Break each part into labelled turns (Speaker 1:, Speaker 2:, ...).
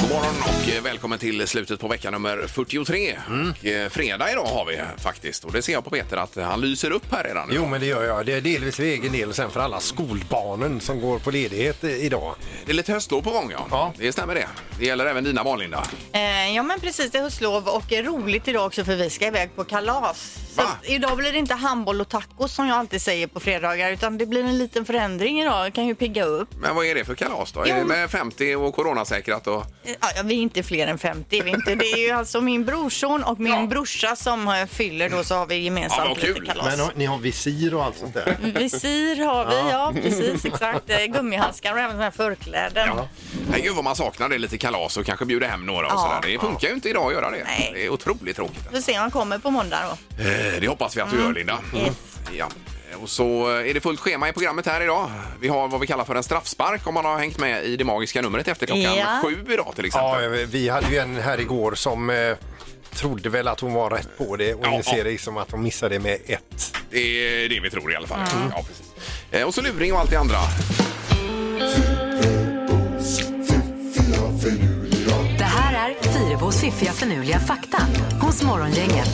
Speaker 1: God morgon och eh, välkommen till slutet på vecka nummer 43. Och, eh, fredag idag har vi faktiskt och det ser jag på Peter att han lyser upp här redan. nu.
Speaker 2: Jo, men det gör jag. Det är delvis för egen del och sen för alla skolbarnen som går på ledighet i- idag.
Speaker 1: Det är lite höstlov på gång ja.
Speaker 2: Ja.
Speaker 1: Det stämmer det. Det gäller även dina barn Linda.
Speaker 3: Eh, ja men precis, det är höstlov och är roligt idag också för vi ska iväg på kalas. Så
Speaker 1: Va?
Speaker 3: att idag blir det inte handboll och tacos som jag alltid säger på fredagar utan det blir en liten förändring idag. Det kan ju pigga upp.
Speaker 1: Men vad är det för kalas då?
Speaker 3: Jo.
Speaker 1: Är det med 50 och coronasäkrat? Och...
Speaker 3: Eh, Ja, vi är inte fler än 50. Vi är inte. Det är ju alltså min brorson och min brorsa som eh, fyller då så har vi
Speaker 1: Ja,
Speaker 3: gemensamt
Speaker 1: vad
Speaker 3: lite
Speaker 1: kul.
Speaker 3: kalas.
Speaker 2: Men har- ni har visir och allt sånt där?
Speaker 3: Visir har vi, ja precis exakt. Eh, Gummihandskar och även såna här förkläden.
Speaker 1: Nej, gud vad man saknar det lite kalas och kanske bjuda hem några och
Speaker 3: Ja.
Speaker 1: sådär. Det funkar ju inte idag att göra det.
Speaker 3: Nej.
Speaker 1: Det är otroligt tråkigt.
Speaker 3: Vi får se om han kommer på måndag då.
Speaker 1: Eh, Det hoppas vi att du gör Linda.
Speaker 3: Mm. Yes.
Speaker 1: Ja. Och så eh, är det fullt schema i programmet här idag. Vi har vad vi kallar för en straffspark om man har hängt med i det magiska numret efter klockan
Speaker 3: Ja.
Speaker 1: sju idag till exempel.
Speaker 2: Ja, vi hade ju en här igår som eh, trodde väl att hon var rätt på det och
Speaker 1: Ja,
Speaker 2: nu ser
Speaker 1: ja.
Speaker 2: det som att hon missade med ett.
Speaker 1: Det är det vi tror i alla fall.
Speaker 3: Mm.
Speaker 1: Ja, precis. Eh, Och så luring och allt det andra.
Speaker 4: Det här är Fyrebos fiffiga förnuliga fakta hos Morgongänget.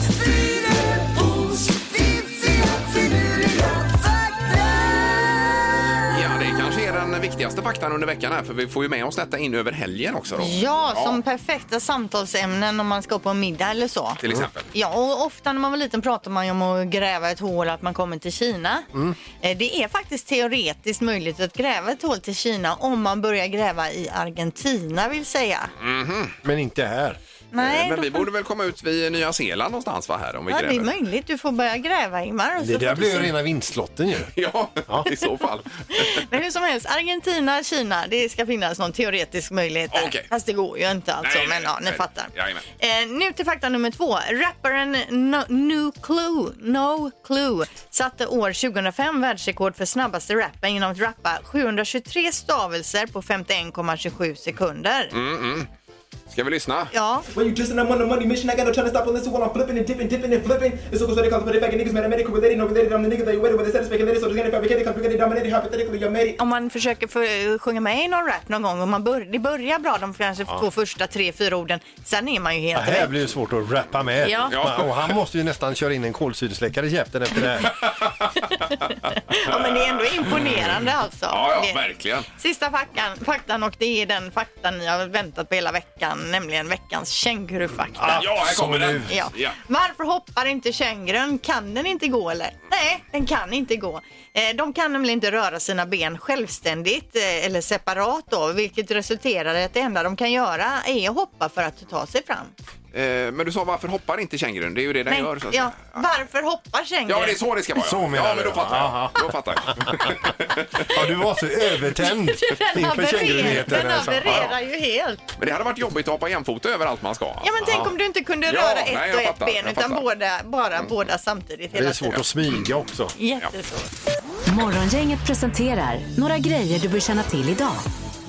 Speaker 1: Ja, det kanske är den viktigaste faktan under veckan här för vi får ju med oss detta in över helgen också då.
Speaker 3: Ja, som perfekta samtalsämnen om man ska på en middag eller så.
Speaker 1: Till exempel.
Speaker 3: Ja, och ofta när man var liten pratade man ju om att gräva ett hål att man kommer till Kina. Eh, Det är faktiskt teoretiskt möjligt att gräva ett hål till Kina om man börjar gräva i Argentina vill säga.
Speaker 2: Men inte här.
Speaker 3: Nej,
Speaker 1: Eh, Men
Speaker 3: då
Speaker 1: vi
Speaker 3: får-
Speaker 1: borde väl komma ut vid Nya Zeeland någonstans va här om vi
Speaker 3: ja, det är
Speaker 1: gräver.
Speaker 3: möjligt. Du får börja gräva Ingmar. och så
Speaker 2: Det
Speaker 3: får
Speaker 2: där
Speaker 3: du
Speaker 2: blir
Speaker 3: se.
Speaker 2: ju rena vinstlotten ju.
Speaker 1: Ja, i så fall.
Speaker 3: Men hur som helst, Argentina, Kina, det ska finnas någon teoretisk möjlighet där.
Speaker 1: Okej.
Speaker 3: Fast det går ju inte alltså,
Speaker 1: Nej, nej,
Speaker 3: men ja, ni
Speaker 1: nej.
Speaker 3: fattar.
Speaker 1: Jajamän.
Speaker 3: Eh, nu till fakta nummer två. Rapparen no, New Clue, no Clue satte år 2005 världsrekord för snabbaste rappen genom att rappa 723 stavelser på 51,27 sekunder.
Speaker 1: Mm. Ska vi lyssna?
Speaker 3: Ja,
Speaker 5: When you dissing, I'm on the money mission. I got no time to stop and listen while I'm flipping and dipping, dipping and flipping. It's so they call it back niggas, man. I made it related, no related. I'm the nigga that you waited with. They said it's speculated, so it's getting fabricated, complicated, dominated, hypothetically, I'm made it.
Speaker 3: om man försöker för, sjunga med i någon rap någon gång och man bör, det börjar bra de kanske två första tre, fyra orden, sen är man ju
Speaker 2: Det
Speaker 3: helt
Speaker 2: här
Speaker 3: väck.
Speaker 2: blir ju svårt att rappa med.
Speaker 3: Ja.
Speaker 1: Ja.
Speaker 2: Och han måste ju nästan köra in en kolsyresläckare i käften efter det här.
Speaker 3: Ja, men det är ändå imponerande alltså.
Speaker 1: Ja, ja,
Speaker 3: Det-
Speaker 1: verkligen.
Speaker 3: Sista faktan, faktan och det är den faktan ni har väntat på hela veckan, nämligen veckans kängurufakta.
Speaker 1: Ja, här kommer den.
Speaker 3: Ja.
Speaker 1: Ah, Ja.
Speaker 3: Varför hoppar inte kängurun? Kan den inte gå eller? Nej, den kan inte gå. Eh, De kan nämligen inte röra sina ben självständigt eh, eller separat då, vilket resulterar i att det enda de kan göra är att hoppa för att ta sig fram.
Speaker 1: Eh, Men du sa varför hoppar inte kängurun? Det är ju det den
Speaker 3: Nej,
Speaker 1: gör. Så att säga.
Speaker 3: ja, varför hoppar kängurun?
Speaker 1: Ja, men det är så det ska vara. ja.
Speaker 2: Så menar
Speaker 1: ja, men då
Speaker 2: du.
Speaker 1: fattar jag.
Speaker 2: Aha.
Speaker 1: Då fattar jag.
Speaker 2: Ja, du var så övertänd
Speaker 3: Den
Speaker 2: inför
Speaker 3: havererar,
Speaker 2: kängurunheten.
Speaker 3: den
Speaker 2: alltså.
Speaker 3: havererar ju helt.
Speaker 1: men det hade varit jobbigt att hoppa jämfota överallt man ska.
Speaker 3: Ja men tänk om du inte kunde
Speaker 1: Ja,
Speaker 3: röra
Speaker 1: nej,
Speaker 3: ett
Speaker 1: jag
Speaker 3: och ett
Speaker 1: fattar,
Speaker 3: ben
Speaker 1: jag
Speaker 3: utan
Speaker 1: fattar. Mm.
Speaker 3: båda, bara båda samtidigt
Speaker 2: Det
Speaker 3: hela
Speaker 2: är svårt att smyga också.
Speaker 3: tiden. Jättesvårt.
Speaker 4: Morgongänget presenterar några grejer du bör känna till idag.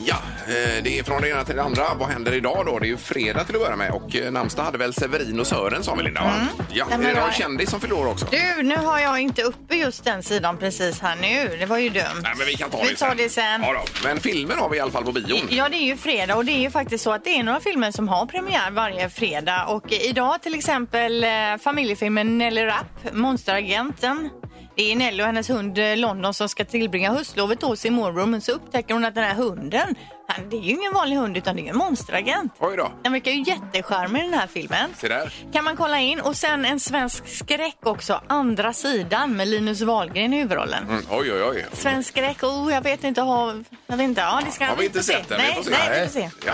Speaker 1: Ja, eh, det är från det ena till det andra. Vad händer idag då? Det är ju fredag till att börja med och eh, namnsdag hade väl Severin och Sören sa vi Linda?
Speaker 3: Mm.
Speaker 1: va? Ja,
Speaker 3: Nej, men
Speaker 1: är det någon
Speaker 3: vad-
Speaker 1: kändis som fyller år också?
Speaker 3: Du, nu har jag inte uppe just den sidan precis här nu. Det var ju dumt.
Speaker 1: Nej, men vi kan ta
Speaker 3: vi
Speaker 1: det
Speaker 3: tar det sen.
Speaker 1: Ja, då. Men filmen har vi i alla fall på bion.
Speaker 3: Ja, det är ju fredag och det är ju faktiskt så att det är några filmer som har premiär varje fredag. Och idag till exempel eh, familjefilmen Nelly Rapp, Monsteragenten. Det är Nelly och hennes hund eh, London som ska tillbringa höstlovet hos sin morbror men så upptäcker hon att den här hunden, han, det är ju ingen vanlig hund utan det är en monsteragent.
Speaker 1: Oj då.
Speaker 3: Den verkar ju jättecharmig den här filmen.
Speaker 1: Se där.
Speaker 3: Kan man kolla in. Och sen en svensk skräck också, Andra sidan med Linus Wahlgren i huvudrollen.
Speaker 1: Mm, oj, oj, oj.
Speaker 3: Svensk skräck, oh, jag vet inte. Har, jag vet inte. Ja, det ska
Speaker 1: Har vi inte
Speaker 3: får se.
Speaker 1: sett den? Vi
Speaker 3: Nej,
Speaker 1: får se.
Speaker 3: Nej, vi får se.
Speaker 1: Ja.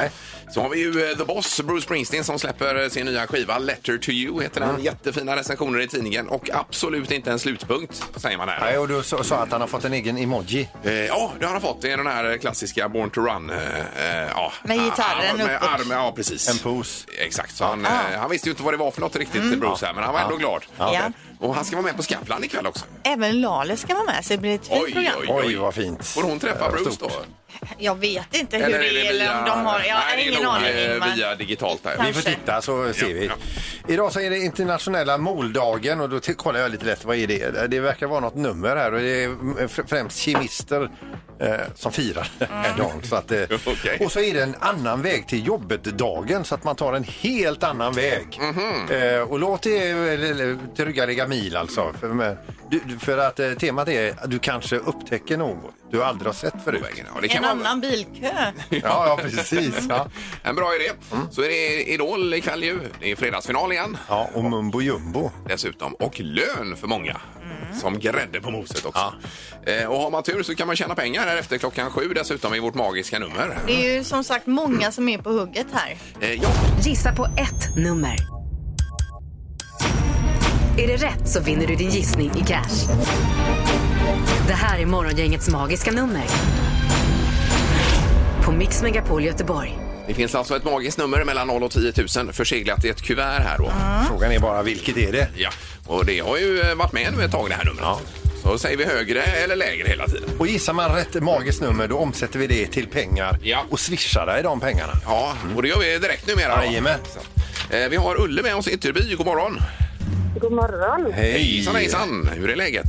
Speaker 1: Så har vi ju eh, The Boss, Bruce Springsteen, som släpper eh, sin nya skiva Letter to You. heter
Speaker 6: Mm.
Speaker 1: den. Jättefina recensioner i tidningen och absolut inte en slutpunkt, säger man här.
Speaker 6: Nej, och du sa sa att han har fått en egen emoji.
Speaker 1: Eh, Ja, det har han fått. Det är den här eh, klassiska Born to Run. Eh, eh, ja.
Speaker 3: Med gitarren
Speaker 1: Ah, Med
Speaker 3: uppåt.
Speaker 1: armen, ja precis.
Speaker 6: En pose.
Speaker 1: Exakt, så han, eh, han visste ju inte vad det var för något riktigt, Bruce, här, men han var ändå glad.
Speaker 3: Mm. Ja.
Speaker 1: Och han ska vara med på Skavlan ikväll också.
Speaker 3: Även Lale ska vara med så det blir ett fint program.
Speaker 6: Oj, vad fint.
Speaker 1: Får hon träffa
Speaker 6: Eh,
Speaker 1: Bruce
Speaker 6: stort.
Speaker 1: då?
Speaker 3: Jag vet inte hur det är eller om
Speaker 1: via-
Speaker 3: de har... Jag har
Speaker 1: Nej, det är
Speaker 3: ingen
Speaker 1: nog,
Speaker 3: aning
Speaker 1: eh,
Speaker 3: Ingmar.
Speaker 1: via digitalt där.
Speaker 6: Vi får titta så ser vi.
Speaker 1: Ja,
Speaker 6: Idag så är det internationella moldagen och då till- kollar jag lite lätt vad är det? Det verkar vara något nummer här och det är mm, fr- främst kemister eh, som firar den här dagen. Så att, eh,
Speaker 1: Okej.
Speaker 6: Och så är det en annan väg till jobbet-dagen så att man tar en helt annan väg.
Speaker 1: Mhm.
Speaker 6: eh, och låt det eh, trygga ligga mil alltså. För, men, du- du, för att eh, temat är att du kanske upptäcker något du aldrig har sett förut.
Speaker 1: på vägen. Ja, det kan
Speaker 3: En
Speaker 1: vara-
Speaker 3: annan bilkö.
Speaker 6: Ja, ja precis. Ja.
Speaker 1: En bra idé. Så är det Idol ikväll ju. Det är fredagsfinal igen
Speaker 6: Ja, och mumbo jumbo.
Speaker 1: dessutom. Och lön för många.
Speaker 3: Mm.
Speaker 1: Som grädde på moset också. Eh, och har man tur så kan man tjäna pengar här efter klockan sju dessutom i vårt magiska nummer.
Speaker 3: Det är ju som sagt många som är på hugget här.
Speaker 1: Eh, ja,
Speaker 4: Gissa på ett nummer. Är det rätt så vinner du din gissning i cash. Det här är Morgongängets magiska nummer. På Mix Megapol Göteborg.
Speaker 1: det finns alltså ett magiskt nummer mellan 0 och 10 000 förseglat i ett kuvert här då.
Speaker 6: Frågan är bara vilket är det?
Speaker 1: Ja, och det har ju eh, varit med nu ett tag det här numret. Så säger vi högre eller lägre hela tiden.
Speaker 6: Och gissar man rätt magiskt nummer då omsätter vi det till pengar
Speaker 1: Ja.
Speaker 6: och swishar dig de pengarna.
Speaker 1: Ja, och det gör vi direkt numera. då.
Speaker 6: Jajamän.
Speaker 1: Eh, Vi har Ulle med oss i Ytterby. God morgon!
Speaker 7: God morgon.
Speaker 6: Hej!
Speaker 1: Hejsan, hejsan! Hur är läget?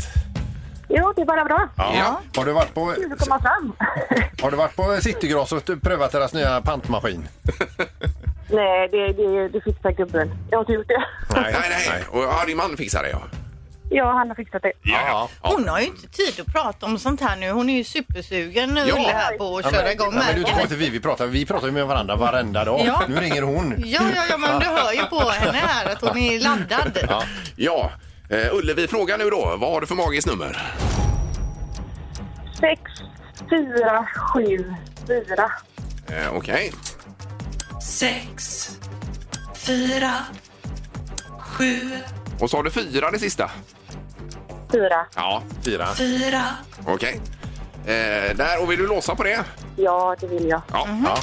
Speaker 7: Jo, det är bara bra.
Speaker 1: Ja.
Speaker 6: Har du varit på,
Speaker 7: Kul att komma fram.
Speaker 6: har du varit på Citygross och prövat deras nya pantmaskin?
Speaker 7: Nej, det, det, det fixar gubben. Jag har inte gjort det.
Speaker 1: Nej, nej. Och, ja, din man fixar det, ja.
Speaker 7: Ja, han har fixat det.
Speaker 6: Ja.
Speaker 3: Hon har ju inte tid att prata om sånt här nu. Hon är ju supersugen nu
Speaker 1: Ja.
Speaker 3: Ulle här på att
Speaker 6: Ja,
Speaker 3: köra
Speaker 6: men-
Speaker 3: igång
Speaker 6: ja, men du tror
Speaker 3: märket.
Speaker 6: inte vi, vi pratar, vi pratar ju med varandra varenda dag.
Speaker 3: Ja.
Speaker 6: Nu ringer hon.
Speaker 3: Ja, ja, ja, men du hör ju på henne här att hon är laddad.
Speaker 1: Ja, eh, Ulle, vi frågar nu då. Vad har du för magiskt nummer?
Speaker 7: Sex, fyra, sju, fyra.
Speaker 1: Eh, Okej.
Speaker 8: Sex, fyra, sju,
Speaker 1: Och så har du fyra det sista?
Speaker 7: Fyra.
Speaker 1: Ja, fyra.
Speaker 8: fyra.
Speaker 1: Okej. Eh, där, och vill du låsa på det? Mm-hmm.
Speaker 7: Ja, det vill jag.
Speaker 1: Ja.
Speaker 6: Ja.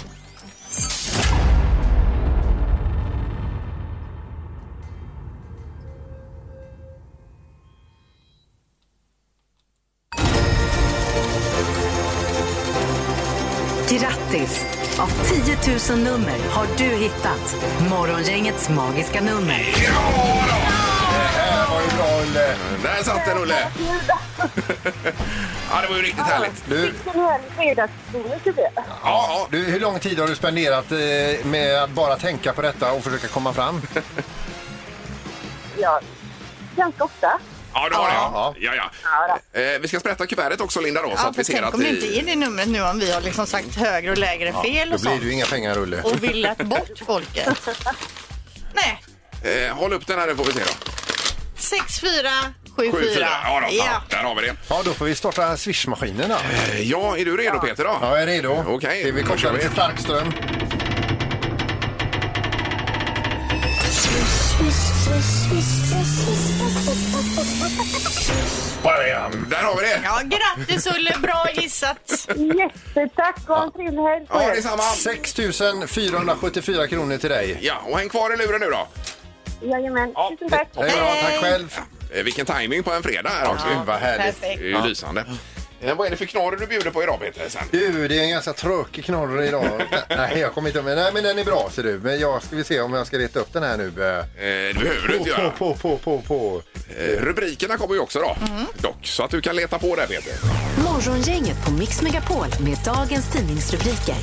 Speaker 4: Grattis! Av 10 000 nummer har du hittat Morgongängets magiska nummer.
Speaker 6: Det var ju bra Ulle.
Speaker 1: Där satt den, Ulle! ja, det var ju riktigt härligt.
Speaker 6: Du,
Speaker 7: Vilken härlig fredagsbonus det blev.
Speaker 1: Ja,
Speaker 6: du, hur lång tid har du spenderat eh, med att bara tänka på detta och försöka komma fram?
Speaker 7: Ja, ganska ofta.
Speaker 1: ja det var det. Ja, ja.
Speaker 6: Ja.
Speaker 1: ja.
Speaker 7: Ja,
Speaker 1: Eh, vi ska sprätta kuvertet också, Linda, då, så
Speaker 3: Ja,
Speaker 1: att
Speaker 3: för
Speaker 1: vi ser
Speaker 3: tänk
Speaker 1: att
Speaker 3: om det inte
Speaker 1: vi...
Speaker 3: är det numret nu om vi har liksom sagt högre och lägre fel
Speaker 6: Då
Speaker 3: och
Speaker 6: blir
Speaker 3: sånt.
Speaker 6: det ju inga pengar Ulle.
Speaker 3: Och villat bort folket. Nej,
Speaker 1: Eh, håll upp den här, nu får vi se då.
Speaker 3: 6474.
Speaker 1: Sju, fyra. Ja, då, ja, där har vi det.
Speaker 6: Ja, då får vi starta swishmaskinen då.
Speaker 1: Eh, Ja, är du redo, Peter? Då?
Speaker 6: Ja, jag är redo.
Speaker 1: Eh, Okej,
Speaker 6: Ska vi
Speaker 1: då kör
Speaker 6: koppla
Speaker 1: vi.
Speaker 6: till stark ström?
Speaker 1: Bam! Där har vi det!
Speaker 3: Ja, grattis Ulle, bra gissat.
Speaker 7: Jättetack och ha en trevlig helg på
Speaker 1: Ja,
Speaker 7: er.
Speaker 1: detsamma!
Speaker 6: 6 474 kronor till dig.
Speaker 1: Ja, och häng kvar i luren nu då.
Speaker 7: Jajamän.
Speaker 1: Ja,
Speaker 7: Tusen tack.
Speaker 6: Det är bra, tack
Speaker 3: Hej.
Speaker 6: själv.
Speaker 1: Eh, Vilken timing på en fredag här också.
Speaker 6: Gud, vad härligt.
Speaker 1: Det
Speaker 3: Perfekt.
Speaker 1: är ju lysande. Eh, vad är det för knorr du bjuder på idag, Peter? Sen? Eh,
Speaker 6: Du, det är en ganska tråkig knorr idag. Nej, jag kommer inte med. Nej, men den är bra ser du. Men jag ska vi se om jag ska reta upp den här nu.
Speaker 1: Eh, det behöver du inte
Speaker 6: På,
Speaker 1: göra.
Speaker 6: på, på, på, på.
Speaker 1: Eh, rubrikerna kommer ju också då,
Speaker 3: Mm.
Speaker 1: dock. Så att du kan leta på där, Peter.
Speaker 4: Morgongänget på Mix Megapol med dagens tidningsrubriker.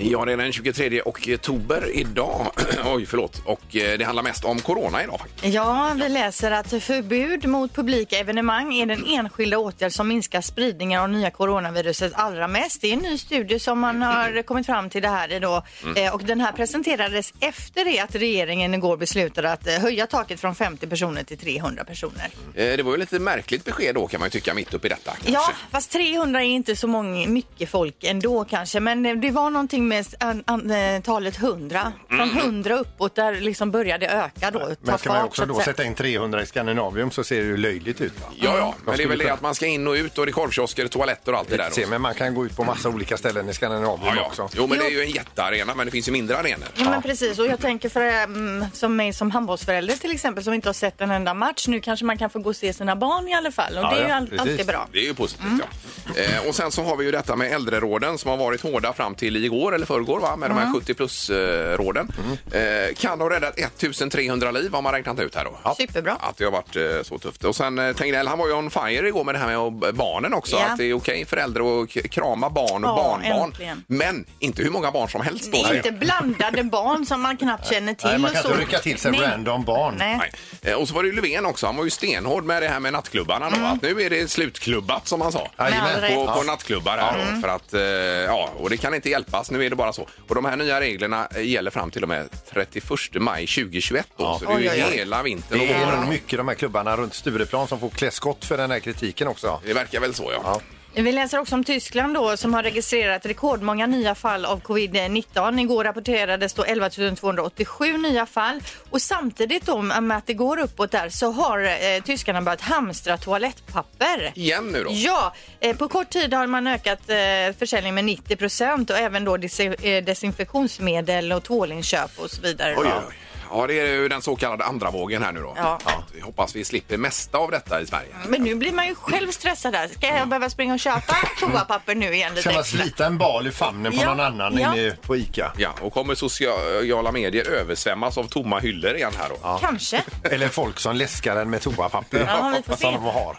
Speaker 1: Ja, det är den 23 oktober idag. Oj, förlåt. Och eh, det handlar mest om corona idag faktiskt.
Speaker 3: Ja, vi läser att förbud mot publika evenemang är den enskilda åtgärd som minskar spridningen av nya coronaviruset allra mest. Det är en ny studie som man har kommit fram till det här i då.
Speaker 6: Mm.
Speaker 3: Eh, Och den här presenterades efter det att regeringen igår beslutade att eh, höja taket från 50 personer till 300 personer.
Speaker 6: Mm,
Speaker 1: Eh, det var ju lite märkligt besked då kan man ju tycka mitt uppe i detta.
Speaker 3: Ja,
Speaker 1: kanske.
Speaker 3: fast 300 är inte så många, mycket folk ändå kanske. Men eh, det var någonting med s- an, an, eh, talet 100. Från 100 uppåt där liksom började öka då. ta
Speaker 6: Mm. Men ska man
Speaker 3: fart, så
Speaker 6: också
Speaker 3: att
Speaker 6: då
Speaker 3: säga.
Speaker 6: sätta in 300 i Skandinavium så ser det ju löjligt ut. Va?
Speaker 1: Ja, ja, men det är
Speaker 6: Mm. skulle
Speaker 1: väl det
Speaker 6: kunna-
Speaker 1: att man ska in och ut och det är korvkiosker, toaletter och allt det där.
Speaker 6: Se,
Speaker 1: Också.
Speaker 6: men man kan gå ut på massa olika ställen i Skandinavium
Speaker 1: Ja, ja.
Speaker 6: också.
Speaker 1: Jo, men det är ju en jättearena, men det finns ju mindre arenor.
Speaker 3: Ja, men precis. Och jag tänker för mm, som mig som handbollsförälder till exempel som inte har sett en enda match. Nu kanske man kan få gå och se sina barn i alla fall. Och
Speaker 6: Ja,
Speaker 3: det är ju
Speaker 6: ja,
Speaker 3: all,
Speaker 6: precis.
Speaker 3: alltid bra. Mm.
Speaker 1: Det är ju positivt, ja. Eh, och sen så har vi ju detta med äldreråden som har varit hårda fram till igår eller förrgår va? med de
Speaker 3: Mm.
Speaker 1: här 70 plus-råden. Eh, kan ha räddat 1300 liv har man räknat ut här då.
Speaker 3: Superbra.
Speaker 1: Att det har varit eh, så tufft. Och sen eh, Tegnell, han var ju on fire igår med det här med ob- barnen också.
Speaker 3: Ja.
Speaker 1: Att det är okej för äldre att k- krama barn och
Speaker 3: Ja,
Speaker 1: barnbarn.
Speaker 3: äntligen.
Speaker 1: Men inte hur många barn som helst.
Speaker 3: Det
Speaker 1: Då,
Speaker 3: är inte blandade barn som man knappt känner till.
Speaker 6: Nej, man kan
Speaker 3: och så.
Speaker 6: inte rycka till sig
Speaker 3: Nej.
Speaker 6: random barn.
Speaker 3: Nej.
Speaker 1: Nej. Eh, Och så var det ju Löfven också. Han var ju stenhård med det här med nattklubbarna. Då, Att nu är det slutklubbat som han sa.
Speaker 6: Jajamän.
Speaker 3: Med all Mm. rätt.
Speaker 1: på, på nattklubbar här då, för att, eh, ja, och det kan inte hjälpas. Nu är det bara så. Och de här nya reglerna eh, gäller fram till och med 31 maj 2021 då, så det är ju
Speaker 3: Oj, oj, oj.
Speaker 1: hela vintern och
Speaker 6: Det är
Speaker 1: våren.
Speaker 6: nog mycket de här klubbarna runt Stureplan som får kläskott för den här kritiken också.
Speaker 1: Det verkar väl så, ja.
Speaker 6: Ja.
Speaker 3: Vi läser också om Tyskland då som har registrerat rekordmånga nya fall av covid-19. Igår rapporterades då 11 287 nya fall och samtidigt då med att det går uppåt där så har eh, tyskarna börjat hamstra toalettpapper.
Speaker 1: Igen nu då.
Speaker 3: Ja, eh, på kort tid har man ökat eh, försäljningen med 90 procent och även då dis- eh, desinfektionsmedel och tvålinköp och så vidare. då.
Speaker 1: Oj, oj, oj. Ja, det är ju den så kallade andra vågen här nu då.
Speaker 3: Ja.
Speaker 1: vi hoppas vi slipper mesta av detta i Sverige.
Speaker 3: Men nu blir man ju själv stressad där. Ska jag behöva springa och köpa toapapper nu igen lite
Speaker 6: Ska man
Speaker 3: extra?
Speaker 6: slita en bal i famnen på
Speaker 3: Ja,
Speaker 6: någon annan
Speaker 3: ja.
Speaker 6: inne på ICA?
Speaker 1: Ja, och kommer sociala medier översvämmas av tomma hyllor igen här då?
Speaker 3: Kanske.
Speaker 6: Eller folk som läskar en med toapapper.
Speaker 3: Ja, vi får se.
Speaker 6: Som de har.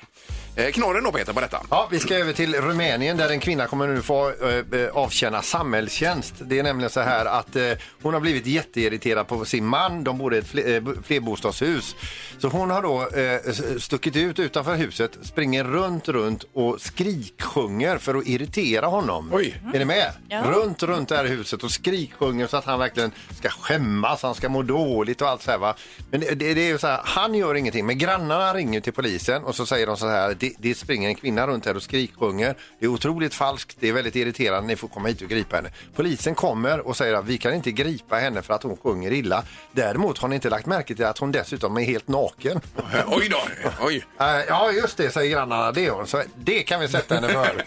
Speaker 1: Eh, knorren då Peter på detta.
Speaker 6: Ja, vi ska över till Rumänien där en kvinna kommer nu få eh, eh, avtjäna samhällstjänst. Det är nämligen så här att eh, hon har blivit jätteirriterad på sin man. De bor i ett fle- eh, bo- flerbostadshus. Så hon har då eh, s- stuckit ut utanför huset, springer runt, runt och skriksjunger för att irritera honom.
Speaker 1: Oj.
Speaker 6: Är ni med?
Speaker 3: Ja.
Speaker 6: Runt, runt det här huset och skriksjunger så att han verkligen ska skämmas, han ska må dåligt och allt så här va. Men det, det, det är ju så här, han gör ingenting, men grannarna ringer till polisen och så säger de så här, det, det springer en kvinna runt här och skriksjunger. Det är otroligt falskt, det är väldigt irriterande, ni får komma hit och gripa henne. Polisen kommer och säger att vi kan inte gripa henne för att hon sjunger illa. Däremot har ni inte lagt märke till att hon dessutom är helt naken.
Speaker 1: Eh, Oj då! Oj.
Speaker 6: Eh, Ja, just det, säger grannarna. Det, är hon. Så det kan vi sätta henne för.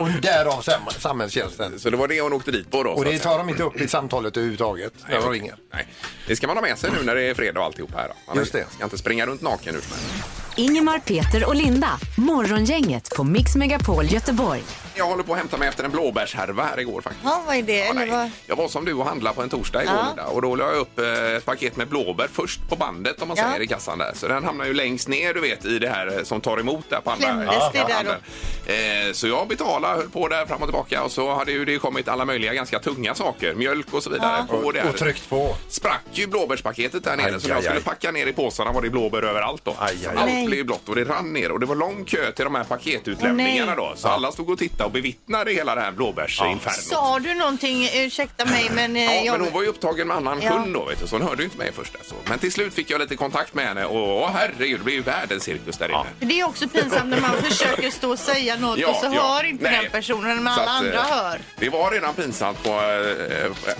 Speaker 6: Och därav sam- samhällstjänsten.
Speaker 1: Så det var det hon åkte dit på då? så
Speaker 6: Och
Speaker 1: att
Speaker 6: det
Speaker 1: säga.
Speaker 6: tar de inte upp i samtalet överhuvudtaget när de ringer.
Speaker 1: Nej. Det ska man ha med sig nu när det är fredag och alltihop här. då. Man
Speaker 6: Just det.
Speaker 1: ska inte springa runt naken hur som helst.
Speaker 4: Ingemar, Peter och Linda. Morgongänget på Mix Megapol Göteborg.
Speaker 1: Jag håller på att hämta mig efter en blåbärshärva här igår faktiskt.
Speaker 3: Ja, vad är det?
Speaker 1: Ja,
Speaker 3: Eller vad-
Speaker 1: nej. jag var som du och handlade på en torsdag igår
Speaker 3: Ja.
Speaker 1: Linda. och då la jag upp eh, ett paket med blåbär först på bandet om man
Speaker 3: Ja.
Speaker 1: säger i kassan där. Så den hamnar ju längst ner du vet i det här eh, som tar emot där på andra
Speaker 3: Klämdes
Speaker 1: ja,
Speaker 3: det där
Speaker 1: handen. Eh, Så jag betalade, höll på där fram och tillbaka och så hade ju det kommit alla möjliga ganska tunga saker, mjölk och så vidare. På det här.
Speaker 6: Och tryckt på.
Speaker 1: sprack ju blåbärspaketet där nere
Speaker 6: Aj,
Speaker 1: så när jag
Speaker 6: aj,
Speaker 1: skulle
Speaker 6: aj.
Speaker 1: packa ner i påsarna var det blåbär överallt då.
Speaker 6: Aj, aj, aj.
Speaker 1: Allt
Speaker 3: Nej.
Speaker 1: blev blått och det rann ner och det var lång kö till de här paketutlämningarna
Speaker 3: Åh, nej.
Speaker 1: då. Så alla stod och tittade och bevittnade hela det här blåbärsinfernot.
Speaker 3: Sa du någonting? Ursäkta mig, men eh,
Speaker 1: Ja,
Speaker 3: jag...
Speaker 1: men hon var ju upptagen med annan
Speaker 3: Ja.
Speaker 1: hund då, vet du, så hon hörde ju inte mig först. Alltså. Men till slut fick jag lite kontakt med henne och åh, herregud, det blev ju världens cirkus där inne.
Speaker 3: Det är också pinsamt när man försöker stå och säga något och så hör inte
Speaker 1: nej.
Speaker 3: den personen, men
Speaker 1: Så
Speaker 3: alla
Speaker 1: att,
Speaker 3: andra
Speaker 1: eh,
Speaker 3: hör.
Speaker 1: Det var redan pinsamt på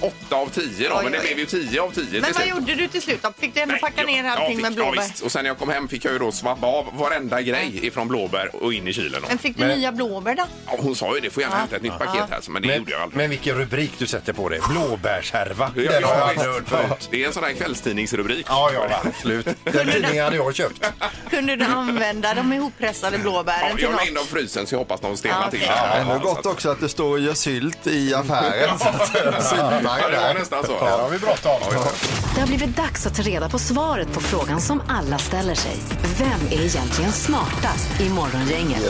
Speaker 1: 8 av 10 då,
Speaker 3: Oj,
Speaker 1: men det
Speaker 3: oj.
Speaker 1: blev ju 10 av 10 till
Speaker 3: Men vad
Speaker 1: slut.
Speaker 3: gjorde du till slut då? Fick du ändå
Speaker 1: Nej,
Speaker 3: packa
Speaker 1: jag-
Speaker 3: ner
Speaker 1: jag
Speaker 3: allting
Speaker 1: fick-
Speaker 3: med blåbär?
Speaker 1: Ja, visst. och sen när jag kom hem fick jag ju då svabba av varenda grej ifrån blåbär och in i kylen. då.
Speaker 3: men fick du nya blåbär då?
Speaker 1: Ja, hon sa ju det, får gärna hämta ett nytt paket här, så, men det
Speaker 6: Men,
Speaker 1: gjorde jag aldrig.
Speaker 6: men vilken rubrik du sätter på det. Blåbärshärva.
Speaker 1: Ja,
Speaker 6: Den har jag
Speaker 1: ja,
Speaker 6: aldrig hört
Speaker 1: visst.
Speaker 6: förut.
Speaker 1: det är en sån här kvällstidningsrubrik.
Speaker 6: Ja, ja, absolut. Den tidningen hade jag köpt.
Speaker 3: Kunde du använda de ihoppressade blåbären
Speaker 1: Ja,
Speaker 3: till
Speaker 1: jag la
Speaker 3: något?
Speaker 1: in dem i frysen så jag hoppas de stelnar
Speaker 3: Ja,
Speaker 1: till.
Speaker 3: okej.
Speaker 1: det här.
Speaker 9: Ändå
Speaker 1: så att-
Speaker 9: gott också att det står och gör sylt i affären.
Speaker 1: Ja, det var nästan så.
Speaker 6: Där har vi bra avtal.
Speaker 4: Det har blivit dags att ta reda på svaret på frågan som alla ställer sig. Vem är egentligen smartast i Morgongänget?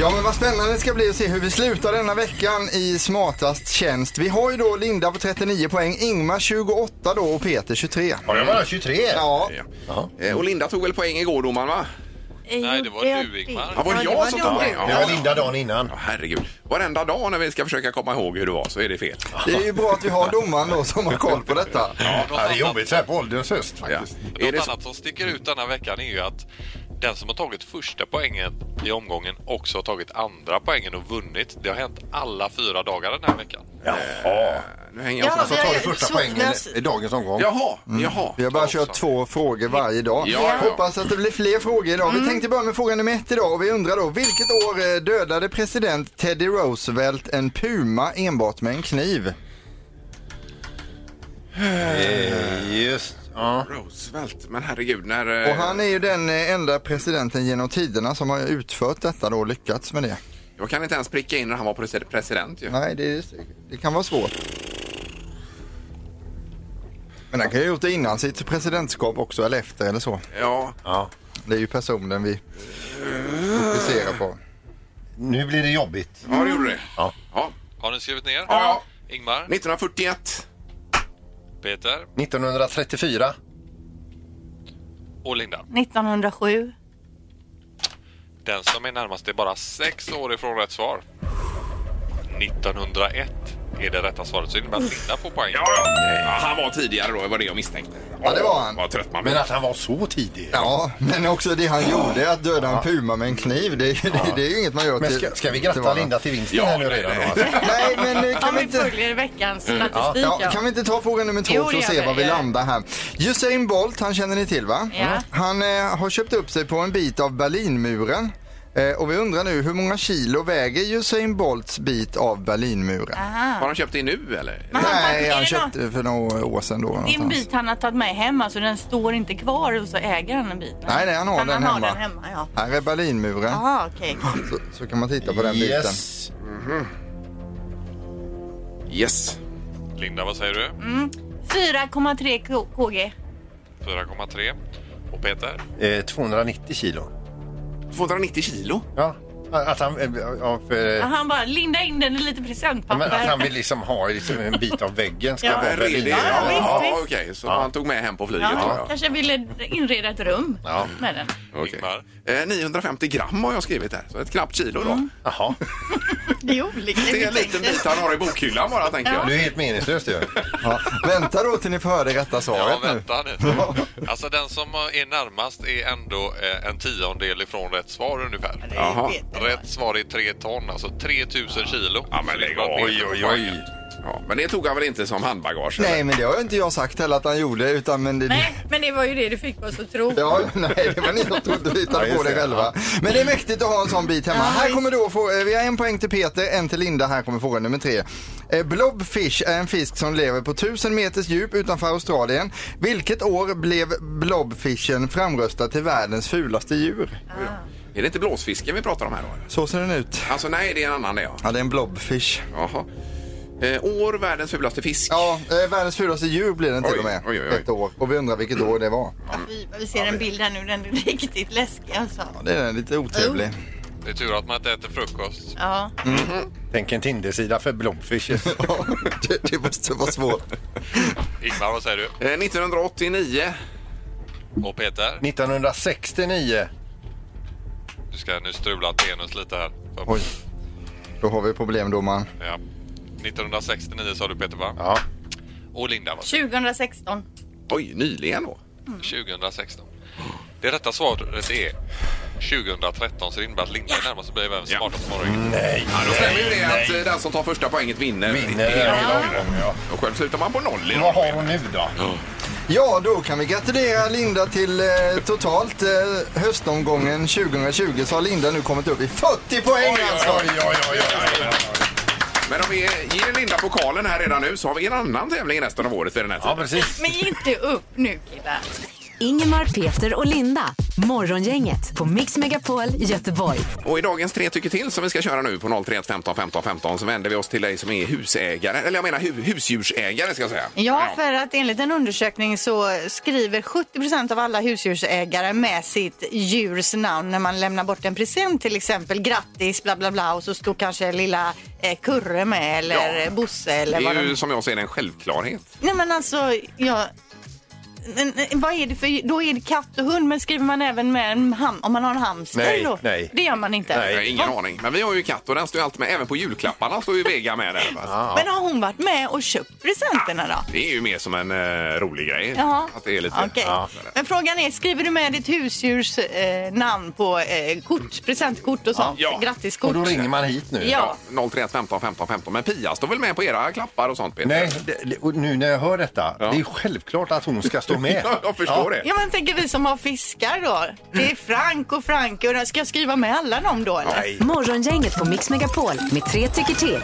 Speaker 9: Ja men vad spännande det ska bli att se hur vi slutar denna veckan i smartast tjänst. Vi har ju då Linda på 39 poäng, Ingmar 28 då och Peter 23.
Speaker 6: Har jag bara 23?
Speaker 9: Ja,
Speaker 1: Ja. Eh, Och Linda tog väl poäng igår domaren va?
Speaker 3: Nej, det var du Ingmar.
Speaker 1: Ja, var det jag som tog
Speaker 3: du.
Speaker 1: poäng?
Speaker 6: Det
Speaker 1: Ja,
Speaker 6: var Linda dagen innan.
Speaker 1: Ja, herregud. Varenda dag när vi ska försöka komma ihåg hur det var så är det fel.
Speaker 9: det är ju bra att vi har domaren då som har koll på detta.
Speaker 6: Ja, det är jobbigt så här på ålderns höst
Speaker 1: Ja.
Speaker 6: faktiskt.
Speaker 1: Är det så?
Speaker 5: som sticker ut denna veckan är ju att
Speaker 10: den som har tagit första poängen i omgången också har tagit andra poängen och vunnit. Det har hänt alla fyra dagar den här veckan.
Speaker 9: Eh,
Speaker 6: Jaha.
Speaker 1: Nu
Speaker 10: hänger jag Ja, på.
Speaker 6: alltså,
Speaker 10: vi har
Speaker 6: tar
Speaker 10: ju
Speaker 6: du första
Speaker 10: svårt-
Speaker 6: poängen
Speaker 10: vi har-
Speaker 6: i dagens omgång.
Speaker 1: Jaha,
Speaker 9: Mm.
Speaker 1: jaha.
Speaker 9: Vi har bara kört två frågor varje dag.
Speaker 6: Ja, ja.
Speaker 9: Hoppas att det blir fler frågor idag. Vi tänkte börja med fråga nummer ett idag och vi undrar då vilket år eh, dödade president Teddy Roosevelt en puma enbart med en kniv?
Speaker 6: Just,
Speaker 1: Roosevelt, men herregud när... eh,
Speaker 9: Och han är ju den eh, enda presidenten genom tiderna som har utfört detta då och lyckats med det.
Speaker 1: Jag kan inte ens pricka in när han var presi- president ju.
Speaker 9: Nej, det, det kan vara svårt. Men han kan ju ha gjort det innan sitt presidentskap också eller efter eller så.
Speaker 1: Ja.
Speaker 9: Det är ju personen vi fokuserar på.
Speaker 6: Nu blir det jobbigt.
Speaker 1: Ja, det gjorde det.
Speaker 6: Ja.
Speaker 10: Har ni skrivit ner?
Speaker 1: Ja.
Speaker 10: Ingmar?
Speaker 1: 1941.
Speaker 10: Peter?
Speaker 6: 1934.
Speaker 10: Och Linda?
Speaker 3: 1907.
Speaker 10: Den som är närmast är bara sex år ifrån rätt svar. 1901 är det rätta svaret, så det innebär att Linda får poäng.
Speaker 1: Ja, ja. ja, han var tidigare då, det var det jag misstänkte.
Speaker 9: Ja, det var han.
Speaker 1: Vad trött man
Speaker 6: Men
Speaker 1: blir.
Speaker 6: att han var så tidig.
Speaker 9: Ja, men också det han gjorde, att döda en puma med en kniv, det, det, det är ju inget man gör
Speaker 6: Men
Speaker 9: till...
Speaker 6: ska, ska vi gratta
Speaker 9: varandra.
Speaker 6: Linda till vinsten här nu redan då? Alltså?
Speaker 9: Nej, men eh,
Speaker 3: Om
Speaker 9: kan vi
Speaker 3: vi
Speaker 9: inte...
Speaker 3: följer veckans
Speaker 9: Mm.
Speaker 3: statistik.
Speaker 9: Ja, kan vi inte ta fråga nummer
Speaker 3: Jo,
Speaker 9: två
Speaker 3: det
Speaker 9: för att se
Speaker 3: gör vi.
Speaker 9: var vi
Speaker 3: Ja.
Speaker 9: landar här. Usain Bolt, han känner ni till va?
Speaker 3: Ja.
Speaker 9: Han eh, har köpt upp sig på en bit av Berlinmuren. Eh, och vi undrar nu hur många kilo väger Usain Bolts bit av Berlinmuren?
Speaker 1: Har han köpt det nu eller?
Speaker 9: Nej, han
Speaker 3: det
Speaker 9: köpte för några år sedan då.
Speaker 3: Det är en
Speaker 9: någonstans.
Speaker 3: bit han har tagit med hem, alltså den står inte kvar och så äger han en bit.
Speaker 9: Nej, nej, han har
Speaker 3: Men
Speaker 9: den
Speaker 3: han
Speaker 9: hemma.
Speaker 3: Har den hemma ja.
Speaker 9: Här är Berlinmuren.
Speaker 3: Aha, okej.
Speaker 9: Så, så kan man titta på den biten.
Speaker 6: Yes.
Speaker 1: Yes.
Speaker 10: Linda, vad säger du?
Speaker 3: Mm. 4,3 K- kg.
Speaker 10: 4,3. Och Peter?
Speaker 6: Eh, 290 kilo.
Speaker 1: 290 kilo?
Speaker 6: Ja. Att han, eh, ja, för,
Speaker 3: Han bara linda in den i lite
Speaker 6: ja, men
Speaker 3: presentpapper.
Speaker 6: att han vill liksom ha liksom en bit av väggen. Ska
Speaker 3: Ja.
Speaker 6: vara
Speaker 1: En redig-
Speaker 6: väldigt-
Speaker 1: Ja,
Speaker 3: ja, visst,
Speaker 1: ja,
Speaker 3: visst.
Speaker 1: okej. Så han tog med hem på flyget?
Speaker 3: ja,
Speaker 1: Ja.
Speaker 3: kanske ville inreda ett rum
Speaker 1: Ja.
Speaker 3: med den.
Speaker 1: Okej. Eh, 950 gram har jag skrivit här, så ett knappt kilo då.
Speaker 3: Mm.
Speaker 6: Jaha.
Speaker 3: Det är olika.
Speaker 1: Det är en liten bit han har i bokhyllan bara, tänker
Speaker 6: Du är
Speaker 1: jag.
Speaker 6: helt meningslös ju.
Speaker 9: Ja, vänta då till ni får höra det rätta
Speaker 10: Ja,
Speaker 9: svaret nu.
Speaker 10: vänta nu. Alltså den som är närmast är ändå eh, en tiondel ifrån rätt svar ungefär.
Speaker 1: är Jaha. Peter.
Speaker 10: Rätt svar är 3 ton, alltså 3000 kilo. Ja, men lägg
Speaker 1: av. Oj, oj, oj. Ja, men det tog han väl inte som handbagage? eller?
Speaker 9: Nej, men det har ju inte jag sagt heller att han gjorde. Utan, men det,
Speaker 3: Nej, men det var ju det du fick oss att tro.
Speaker 9: Ja, nej, det var ni som trodde litade på det själva. Men det är mäktigt att ha en sån bit hemma. Här kommer då, få, eh, vi har en poäng till Peter, en till Linda. Här kommer fråga nummer tre. Eh, Blobfish är en fisk som lever på 1000 meters djup utanför Australien. Vilket år blev blobfishen framröstad till världens fulaste djur?
Speaker 1: Är det inte blåsfisken vi pratar om här då? eller?
Speaker 9: Så ser den ut.
Speaker 1: Alltså nej, det är en annan det ja.
Speaker 9: Ja, det är en blobfish.
Speaker 1: Jaha. Eh, år, världens fulaste fisk.
Speaker 9: Ja, eh, världens fulaste djur blir den till
Speaker 1: Oj,
Speaker 9: och med.
Speaker 1: oj, oj, oj.
Speaker 9: Ett år. Och vi undrar vilket år det var.
Speaker 3: Vi, vi ser en bild här nu, den är riktigt läskig alltså.
Speaker 9: Ja, det är lite otrevlig.
Speaker 10: Det är tur att man inte äter frukost.
Speaker 3: Ja.
Speaker 6: Tänk en Tinder-sida för blobfishes.
Speaker 9: det, det måste vara svårt.
Speaker 10: Ingmar, vad säger du?
Speaker 1: Eh, 1989.
Speaker 10: Och Peter?
Speaker 6: 1969.
Speaker 10: Du ska nu strula tenus lite här.
Speaker 9: Oj. Då har vi problem domaren.
Speaker 10: Ja. 1969 sa du Peter va?
Speaker 6: Ja.
Speaker 10: Och Linda vad
Speaker 3: 2016.
Speaker 1: Oj, nyligen då?
Speaker 10: 2016. Det rätta svaret är 2013 så det innebär att Linda är närmast och blir även smartast morgon.
Speaker 6: Nej.
Speaker 1: Ja, då stämmer ju det att eh, den som tar första poänget vinner.
Speaker 6: Vinner
Speaker 1: hela
Speaker 6: hela
Speaker 1: omgången.
Speaker 6: omgången, ja.
Speaker 1: Och själv slutar man på noll i
Speaker 6: Vad
Speaker 1: dag.
Speaker 6: har hon nu då?
Speaker 9: Ja, då kan vi gratulera Linda till eh, totalt eh, höstomgången 2020 så har Linda nu kommit upp i 40 poäng alltså.
Speaker 1: Men om vi ger Linda pokalen här redan nu så har vi en annan tävling resten av året vid den här tiden.
Speaker 6: Ja, precis.
Speaker 3: Men ge inte upp nu killar.
Speaker 4: Ingemar, Peter och Linda. Morgongänget på Mix Megapol Göteborg.
Speaker 1: Och i dagens tre tycker till som vi ska köra nu på 031 15 15 15 så vänder vi oss till dig som är husägare, eller jag menar hu husdjursägare ska jag säga.
Speaker 3: Ja, för att enligt en undersökning så skriver 70 av alla husdjursägare med sitt djurs namn när man lämnar bort en present till exempel. Grattis, bla bla bla och så står kanske lilla eh, Kurre med eller
Speaker 1: Ja.
Speaker 3: Bosse
Speaker 1: Det
Speaker 3: eller vad
Speaker 1: är ju
Speaker 3: de...
Speaker 1: som jag ser det en självklarhet.
Speaker 3: Nej men alltså, jag... men, eh, vad är det för, då är det katt och hund, men skriver man även med en ham, om man har en hamster
Speaker 1: Nej,
Speaker 3: då?
Speaker 1: nej.
Speaker 3: Det gör man inte.
Speaker 1: Nej, ingen
Speaker 3: Va?
Speaker 1: aning. Men vi har ju katt och den står ju alltid med. Även på julklapparna står ju Vega med där. va?
Speaker 3: Men har hon varit med och köpt presenterna då?
Speaker 1: Det är ju mer som en eh, rolig grej.
Speaker 3: Jaha.
Speaker 1: Att det är lite...
Speaker 3: Okej.
Speaker 1: Ja.
Speaker 3: Men frågan är, skriver du med ditt husdjurs eh, namn på eh, kort, presentkort och sånt? Grattiskort? Ja.
Speaker 1: Ja. 031 15 15 15. Men Pia står väl med på era klappar och sånt Peter?
Speaker 6: Nej, det, det, och nu när jag hör detta, det är självklart att hon ska stå med.
Speaker 1: Ja, jag förstår
Speaker 3: Ja, men tänker vi som har fiskar då. Det är Frank och Franke. och Ska jag skriva med alla dem då eller?
Speaker 4: Morgongänget på Mix Megapol med tre tycker till.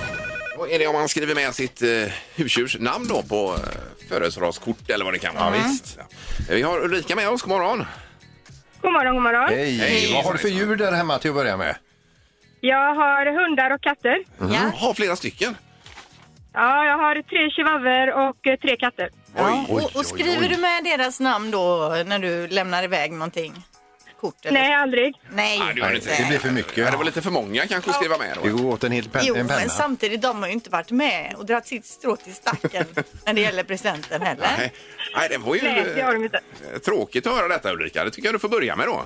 Speaker 1: Vad är det om man skriver med sitt eh, husdjurs namn då på eh, födelsedagskort eller vad det kan vara?
Speaker 6: Ja,
Speaker 1: visst. Vi har Ulrika med oss. God morgon.
Speaker 7: God morgon, god morgon.
Speaker 6: Hej, vad har du för djur där hemma till att börja med?
Speaker 7: Jag har hundar och katter.
Speaker 1: Mm. Har flera stycken.
Speaker 7: Ja, jag har tre chihuahuor och eh, tre katter.
Speaker 3: Ja. och, och skriver du med deras namn då när du lämnar iväg någonting? Kort, eller?
Speaker 7: Nej, aldrig.
Speaker 3: Nej,
Speaker 1: Nej, det, gör det inte. det blir för mycket. Ja, det var lite för många kanske att skriva med. Då.
Speaker 6: Det går åt en hel pen,
Speaker 3: Jo,
Speaker 6: en penna.
Speaker 3: men samtidigt, de har ju inte varit med och dragit sitt strå till stacken när det gäller presenten heller.
Speaker 1: Nej, nej, det var ju
Speaker 7: Nej, det har de inte.
Speaker 1: eh, tråkigt att höra detta Ulrika. Det tycker jag du får börja med då.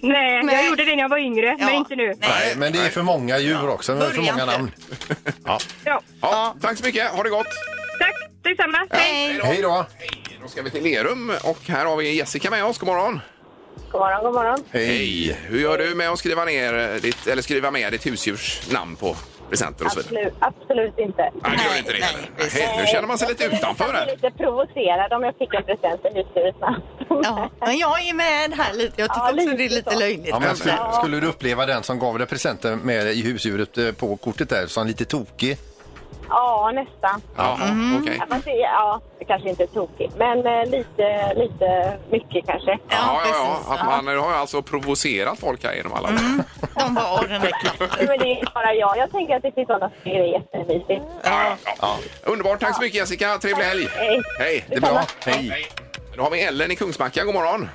Speaker 7: Nej, jag gjorde det när jag var yngre, men inte nu.
Speaker 6: Nej, men det är för många djur också, men för
Speaker 7: Börja
Speaker 6: många
Speaker 7: inte.
Speaker 6: namn. Ja.
Speaker 7: Ja.
Speaker 1: Ja, tack så mycket. Ha det gott.
Speaker 7: Tack, detsamma. Hej.
Speaker 1: Hej då. Hej, Då ska vi till Lerum och här har vi Jessica med oss. God morgon.
Speaker 7: God morgon, god morgon.
Speaker 1: Hej. Hur gör du med att skriva, ner eh, ditt, eller skriva med ditt husdjurs namn på presenter och så vidare?
Speaker 7: Absolut, absolut inte.
Speaker 1: Nej, det gör inte det heller. Nej, Nu känner man sig lite utanför
Speaker 7: Jag
Speaker 1: här.
Speaker 7: blir lite provocerad om jag fick en present i husstyrelsen.
Speaker 3: Ja, men jag är med här lite. Jag tycker också det är lite löjligt. Alltså,
Speaker 6: Ja, men skulle, skulle du uppleva den som gav dig presenten med i husdjuret eh, på kortet där som lite tokig?
Speaker 7: Ja, nästan. Mm.
Speaker 1: Ja, okej.
Speaker 7: Ja, fast det, ja, det kanske inte är tokigt, men eh, lite, lite mycket kanske.
Speaker 1: Ja, ja, ja. Mm. Att man, nu har jag alltså provocerat folk här genom alla år.
Speaker 3: De bara, åh den där knappen.
Speaker 7: Men det är bara jag. Jag tänker att det finns sådana som tycker det är jättemysigt.
Speaker 1: Ja, ja, ja. Underbart. Tack så mycket, Jessica. Trevlig helg.
Speaker 7: Hej.
Speaker 1: Hej.
Speaker 7: Det är bra.
Speaker 1: Hej. Då har vi Ellen i Kungsbacka. God morgon.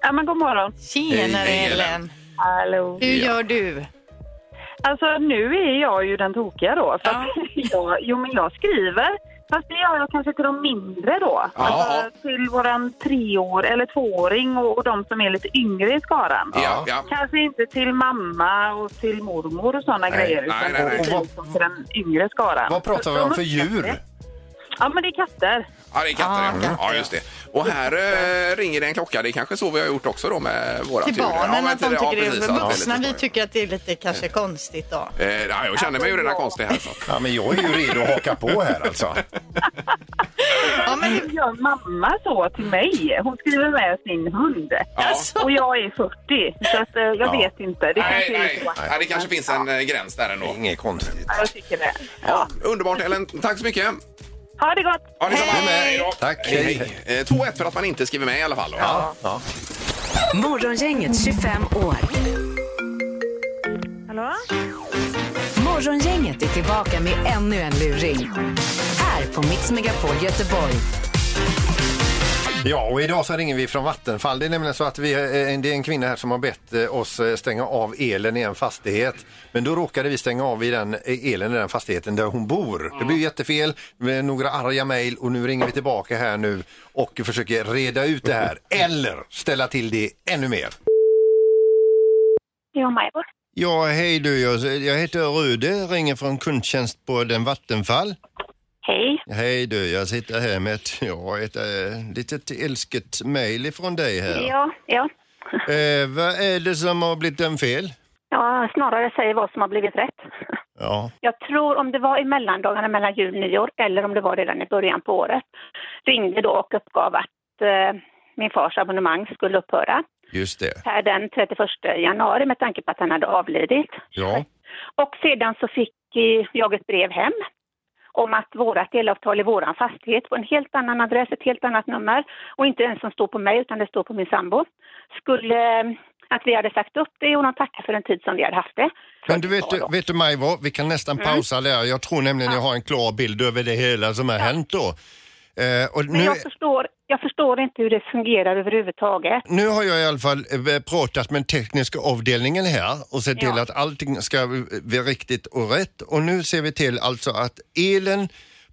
Speaker 11: Ja, men god morgon.
Speaker 3: Tjenare
Speaker 1: Hej, Ellen.
Speaker 3: Ellen.
Speaker 11: Hallå.
Speaker 3: Hur gör du?
Speaker 11: Alltså nu är jag ju den tokiga då. För att jag, jo men jag skriver. Fast det gör jag kanske till de mindre då.
Speaker 1: Ja.
Speaker 11: Alltså, till våran treår eller tvååring och, och de som är lite yngre i skaran.
Speaker 1: Ja, ja.
Speaker 11: Kanske inte till mamma och till mormor och sådana
Speaker 6: Nej,
Speaker 11: grejer.
Speaker 6: nej,
Speaker 11: Utan
Speaker 6: nej, nej.
Speaker 11: till liksom till den yngre skaran.
Speaker 6: Vad pratar vi om för djur?
Speaker 11: Ja men det är katter.
Speaker 1: Ja, det är katter. ja. ja, just det. Och här eh, ringer det en klocka. Det är kanske så vi har gjort också då med våra
Speaker 3: Till
Speaker 1: turer. ja,
Speaker 3: barnen
Speaker 1: men
Speaker 3: att de
Speaker 1: till- ja,
Speaker 3: tycker det
Speaker 1: precis,
Speaker 3: är
Speaker 1: ja, det är lite
Speaker 3: vuxna. Vi
Speaker 1: skoj.
Speaker 3: tycker att det är lite kanske konstigt då.
Speaker 1: Eh, ja, jag känner mig ju redan konstig här. Så.
Speaker 6: Ja, men jag är ju redo att haka på här alltså.
Speaker 11: Ja, men hur gör mamma så till mig? Hon skriver med sin hund. Och jag är 40, så att, eh, jag
Speaker 1: Ja.
Speaker 11: vet inte. Det
Speaker 1: nej,
Speaker 11: kanske är
Speaker 1: nej.
Speaker 11: lite vackert.
Speaker 1: Ja, det kanske finns en eh, gräns där ändå.
Speaker 6: Inget konstigt.
Speaker 11: Ja, Jag tycker det.
Speaker 1: Ja, underbart Ellen. Tack så mycket.
Speaker 11: Ha det gott!
Speaker 1: Ja, detsamma. Hej då.
Speaker 6: Tack.
Speaker 1: Hej. Eh, 2-1 för att man inte skriver med i alla fall. Då. Ja.
Speaker 4: Morgongänget 25 år.
Speaker 11: Hallå?
Speaker 4: Morgongänget är tillbaka med ännu en luring. Här på Mix Megapol Göteborg.
Speaker 6: Ja, och idag så ringer vi från Vattenfall. Det är nämligen så att vi, eh, det är en kvinna här som har bett eh, oss eh, stänga av elen i en fastighet. Men då råkade vi stänga av i den eh, elen i den fastigheten där hon bor. Det blev jättefel, med några arga mejl och nu ringer vi tillbaka här nu och försöker reda ut det här. Eller ställa till det ännu mer.
Speaker 7: Ja, Majvor.
Speaker 12: Ja, hej du. Jag, jag heter Rude, ringer från kundtjänst på den Vattenfall.
Speaker 7: Hej.
Speaker 12: Hej du, jag sitter här med ett, ja, ett äh, litet älsket mejl ifrån dig här.
Speaker 7: Ja, ja.
Speaker 12: Eh, vad är det som har blivit en fel?
Speaker 7: ja, snarare säger vad som har blivit rätt.
Speaker 12: Ja.
Speaker 7: Jag tror om det var i mellandagarna mellan jul och nyår eller om det var redan i början på året ringde då och uppgav att eh, min fars abonnemang skulle upphöra
Speaker 12: Just det.
Speaker 7: per den 31 januari med tanke på att han hade avlidit.
Speaker 12: Ja.
Speaker 7: Och sedan så fick eh, jag ett brev hem om att vårat elavtal i våran fastighet på en helt annan adress, ett helt annat nummer och inte ens som står på mig utan det står på min sambo, skulle eh, att vi hade sagt upp det och de tackar för den tid som vi hade haft det.
Speaker 12: Men du vet, du- vet du mig vad, vi kan nästan
Speaker 7: Mm.
Speaker 12: pausa där. Jag tror nämligen jag har en klar bild över det hela som har hänt då. Eh, och
Speaker 7: Men
Speaker 12: nu,
Speaker 7: jag förstår, jag förstår inte hur det fungerar överhuvudtaget.
Speaker 12: nu har jag i alla fall eh, pratat med tekniska avdelningen här och sett till
Speaker 7: Ja.
Speaker 12: att allting ska vara riktigt och rätt. Och nu ser vi till alltså att elen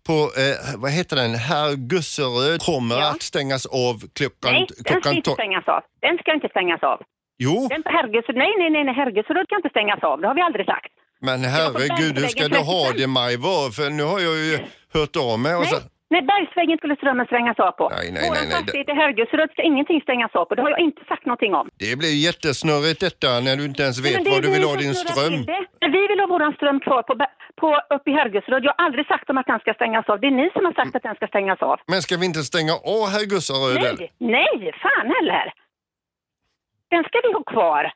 Speaker 6: på, eh, vad heter den, Herr Gusseröd kommer att stängas av klockan...
Speaker 7: Nej, den ska
Speaker 6: klockan
Speaker 7: inte
Speaker 6: to-
Speaker 7: stängas av. Den ska inte stängas av.
Speaker 6: Jo.
Speaker 7: Den, herregud, nej, nej, nej, nej, herregud, kan inte stängas av. Det har vi aldrig sagt.
Speaker 6: men
Speaker 7: bergvägen
Speaker 6: herregud, hur ska du ha det Majvor? För nu har jag ju hört av mig och
Speaker 7: Nej,
Speaker 6: så...
Speaker 7: nej, Bergsvägen skulle strömmen stängas av på.
Speaker 6: Nej, nej, nej,
Speaker 7: Våran
Speaker 6: nej, det-
Speaker 7: fastighet i Herregudseröd ska ingenting stängas av på. Det har jag inte sagt någonting om.
Speaker 6: Det blir jättesnurrigt detta när du inte ens
Speaker 7: Nej, men
Speaker 6: vet
Speaker 7: det är
Speaker 6: var du
Speaker 7: vi
Speaker 6: vill ha
Speaker 7: som
Speaker 6: din
Speaker 7: snurrar
Speaker 6: ström.
Speaker 7: till det. Men vi vill ha våran ström kvar på, Ber- på, uppe i Herregudseröd. Jag har aldrig sagt om att den ska stängas av. Det är ni som har sagt att den ska stängas av.
Speaker 6: Men ska vi inte stänga av Herr Gusseröd? eller?
Speaker 7: Nej, nej, fan heller. Den ska vi ha kvar.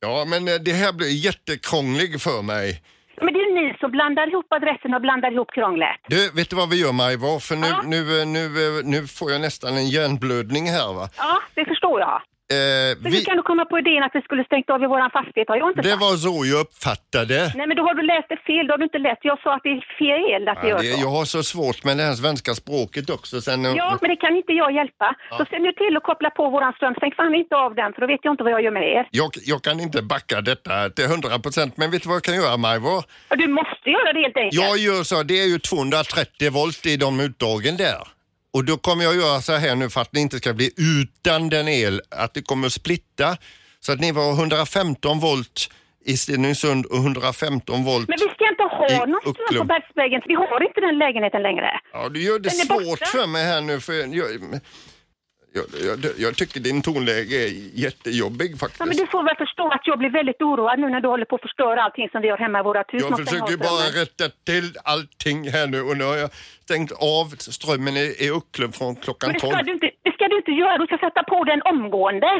Speaker 6: Ja, men eh, det här blir jättekrångligt för mig.
Speaker 7: Men det är ni som blandar ihop adressen och blandar ihop krånglet.
Speaker 6: Du, vet du vad vi gör Majvor? För nu, nu, eh, nu, eh, nu får jag nästan en hjärnblödning här va.
Speaker 7: Ja, det förstår jag.
Speaker 6: Eh,
Speaker 7: Men
Speaker 6: vi,
Speaker 7: Hur kan du komma på idén att vi skulle stängt av i våran fastighet? Har jag inte
Speaker 6: det
Speaker 7: sagt.
Speaker 6: var så jag uppfattade.
Speaker 7: Nej, men då har du läst det fel. Då har du inte läst. Jag sa att det är fel att
Speaker 6: Ja,
Speaker 7: vi gör
Speaker 6: det,
Speaker 7: så.
Speaker 6: Eh, jag har så svårt med det här svenska språket också. Sen, eh,
Speaker 7: Ja, men det kan inte jag hjälpa. Så se nu till att koppla på våran ström. Stäng fan inte av den, för då vet jag inte vad jag gör med er.
Speaker 6: jag, jag kan inte backa detta till 100 procent, men vet du vad jag kan göra Majvor?
Speaker 7: Och Du måste göra det helt enkelt.
Speaker 6: Jag gör så, det är ju 230 volt i de utdragen där. Och då kommer jag göra så här nu för att ni inte ska bli utan den el, att det kommer att splitta. Så att ni var 115 volt i Stenungsund och 115 volt.
Speaker 7: Men vi ska inte ha
Speaker 6: I
Speaker 7: någon ström på
Speaker 6: Ucklum.
Speaker 7: Bergsvägen. Vi har inte den lägenheten längre.
Speaker 6: Ja, du gör det
Speaker 7: Den är borta.
Speaker 6: svårt för mig här nu för jag, jag, jag, jag tycker din tonläge är jättejobbig
Speaker 7: Ja, men
Speaker 6: faktiskt.
Speaker 7: du får väl förstå att jag blir väldigt oroad nu när du håller på att förstöra allting som vi har hemma i våra hus.
Speaker 6: Jag
Speaker 7: Man ska ha
Speaker 6: försöker ju
Speaker 7: strömmen.
Speaker 6: bara rätta till allting här nu och nu har jag stängt av strömmen i, i Ucklum från
Speaker 7: Men
Speaker 6: klockan
Speaker 7: det
Speaker 6: 12.
Speaker 7: ska, du inte, det ska du inte göra. Du ska sätta på den omgående.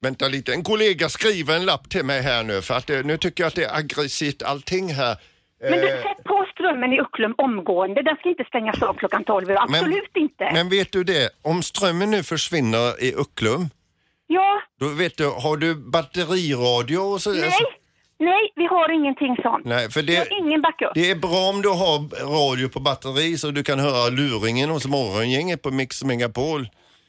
Speaker 6: Vänta lite, en kollega skriver en lapp till mig här nu för att eh, nu tycker jag att det är aggressivt allting här.
Speaker 7: Men du,
Speaker 6: Eh,
Speaker 7: sätt på strömmen i Ucklum omgående. Den ska inte stängas av klockan 12. Absolut inte.
Speaker 6: men vet du det, om strömmen nu försvinner i Ucklum,
Speaker 7: Ja,
Speaker 6: då vet du, har du batteriradio och Eh, så? alltså,
Speaker 7: nej, nej, vi har ingenting sånt.
Speaker 6: Nej, för
Speaker 7: Vi
Speaker 6: det,
Speaker 7: har ingen backup.
Speaker 6: det är bra om du har radio på batteri så du kan höra luringen hos morgongänget på Mix Megapol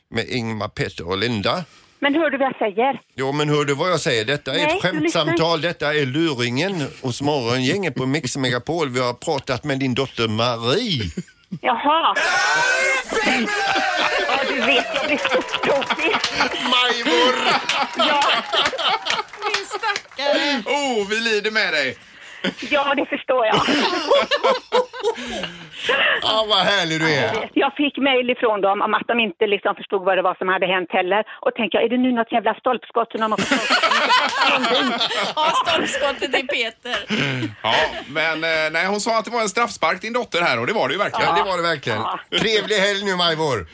Speaker 6: med Ingmar, Petter och Linda.
Speaker 7: Men hör du vad jag säger?
Speaker 6: Jo men hör du vad jag säger, detta är
Speaker 7: Nej,
Speaker 6: ett
Speaker 7: du lyssnar
Speaker 6: skämtsamtal, detta är luringen hos morgongänget på Mix Megapol. Vi har pratat med din dotter Marie.
Speaker 7: Jaha. ja, du vet, jag blir så tokig.
Speaker 6: Majvor!
Speaker 7: ja,
Speaker 3: Min stackare.
Speaker 1: Oh, vi lider med dig.
Speaker 7: ja, det förstår jag.
Speaker 6: Ja, vad härlig du är.
Speaker 7: Jag fick mejl ifrån dem om att de inte liksom förstod vad det var som hade hänt heller. Och tänkte jag, är det nu något jävla stolpskott som de har fått
Speaker 3: Ja, stolpskottet i Peter.
Speaker 1: Ja, men eh, nej, hon sa att det var en straffspark din dotter här och det var det ju verkligen.
Speaker 6: Ja, det var det verkligen. Trevlig helg nu Majvor.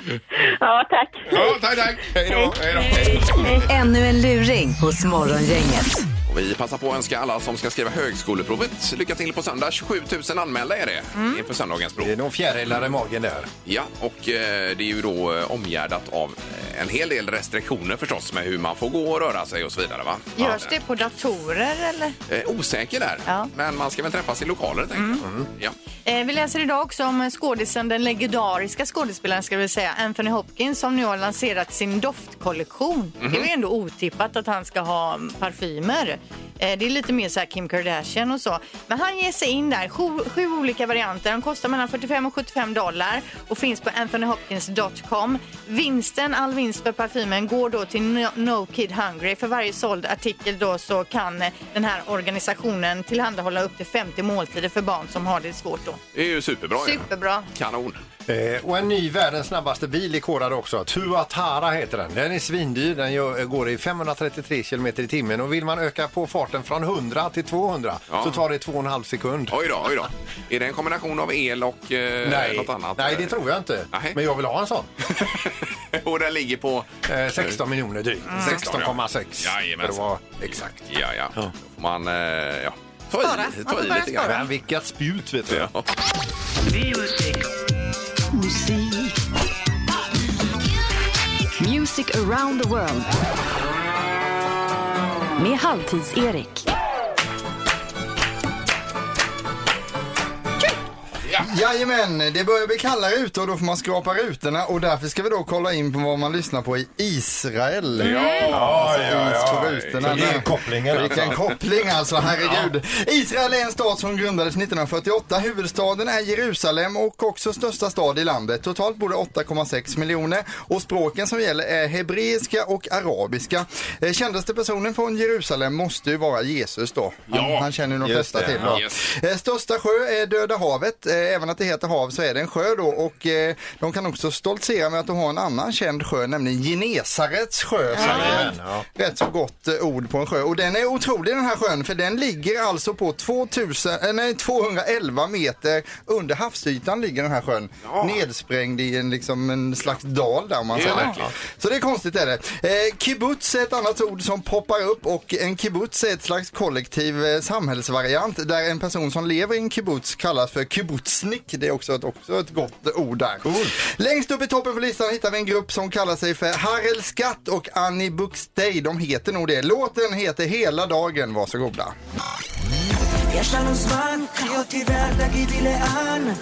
Speaker 7: Ja, tack.
Speaker 1: Ja, tack, tack. Hej då. Hej då.
Speaker 4: Ännu en luring hos Morgongänget.
Speaker 1: Och Vi passar på att önska alla som ska skriva högskoleprovet lycka till på söndag. 27 000 anmälda är det
Speaker 11: Mm.
Speaker 1: inför söndagens prov.
Speaker 13: Det är någon fjärilar i magen där.
Speaker 1: Ja, och eh, det är ju då eh, omgärdat av eh, en hel del restriktioner förstås med hur man får gå och röra sig och så vidare. Va?
Speaker 3: Görs det på datorer eller?
Speaker 1: Eh, osäker där, men man ska väl träffas i lokaler tänker jag. Mm. Ja.
Speaker 3: Eh, vi läser idag också om skådisen, den legendariska skådespelaren ska vi säga, Anthony Hopkins som nu har lanserat sin doftkollektion.
Speaker 14: Mhm.
Speaker 3: Det är ju ändå otippat att han ska ha mm, parfymer. Eh, det är lite mer så här Kim Kardashian och så. Men han ger sig in där, sju, sju olika varianter. De kostar mellan 45 och 75 dollar och finns på anthonyhopkins.com. Vinsten, all vinst för parfymen går då till No, no Kid Hungry. För varje såld artikel då så kan eh, den här organisationen tillhandahålla upp till 50 måltider för barn som har det svårt då.
Speaker 1: Det är ju superbra. ju.
Speaker 3: Superbra.
Speaker 1: Kanon.
Speaker 13: Eh, och en ny världens snabbaste bil är korad också. Tuatara heter den. Den är svindyr. Den gör, går i 533 km i timmen. Och vill man öka på farten från 100 till 200
Speaker 1: Ja.
Speaker 13: så tar det 2,5 sekund.
Speaker 1: Oj då, oj då. Är det en kombination av el och eh,
Speaker 13: Nej.
Speaker 1: något annat?
Speaker 13: Nej, det tror jag inte. Men jag vill ha en sån.
Speaker 1: och den ligger på?
Speaker 13: Eh, 16 miljoner drygt. 16,6.
Speaker 1: Ja.
Speaker 13: För att vara
Speaker 1: Mm. Jajamensan.
Speaker 13: exakt.
Speaker 1: Ja, ja. Då får Man, eh, ja. Ta i, ta i lite grann.
Speaker 13: Men vilka spjut vet du.
Speaker 4: Musik. Music around the world. Med Halvtids-Erik.
Speaker 1: Ja.
Speaker 9: Jajamän, det börjar bli kallare ute och då får man skrapa rutorna och därför ska vi då kolla in på vad man lyssnar på i Israel.
Speaker 6: Ja,
Speaker 9: alltså,
Speaker 6: ja, ja,
Speaker 9: is på
Speaker 6: ja.
Speaker 9: rutorna.
Speaker 6: Vilken
Speaker 9: där.
Speaker 6: koppling, alltså.
Speaker 9: Vilken koppling alltså, herregud. Israel är en stat som grundades 1948. Huvudstaden är Jerusalem och också största stad i landet. Totalt bor det 8,6 miljoner och språken som gäller är hebreiska och arabiska. Eh, Kändaste personen från Jerusalem måste ju vara Jesus då. Han,
Speaker 6: Ja,
Speaker 9: han känner ju de
Speaker 6: just
Speaker 9: flesta
Speaker 6: det.
Speaker 9: till. Då.
Speaker 6: Ja. Yes.
Speaker 9: Eh, Största sjö är Döda havet. Eh, Även att det heter hav så är det en sjö då och eh, de kan också stoltsera med att de har en annan känd sjö, nämligen Genesarets sjö. som är ett Rätt så gott eh, ord på en sjö. Och den är otrolig den här sjön för den ligger alltså på 2000, eh, nej, 211 meter under havsytan ligger den här sjön. Nedsprängd i en, liksom, en slags dal där om man
Speaker 1: Ja,
Speaker 9: säger.
Speaker 1: verkligen.
Speaker 9: Så det är konstigt är det. Eh, kibbutz är ett annat ord som poppar upp och en kibbutz är ett slags kollektiv eh, samhällsvariant där en person som lever i en kibbutz kallas för kibbutznik. Det är också ett, också ett gott ord där. Längst upp i toppen på listan hittar vi en grupp som kallar sig för Harel Skatt och Annie Buxtej. De heter nog det. Låten heter Hela dagen, varsågoda.
Speaker 15: יש לנו זמן, קחי אותי ואל תגיד לי לאן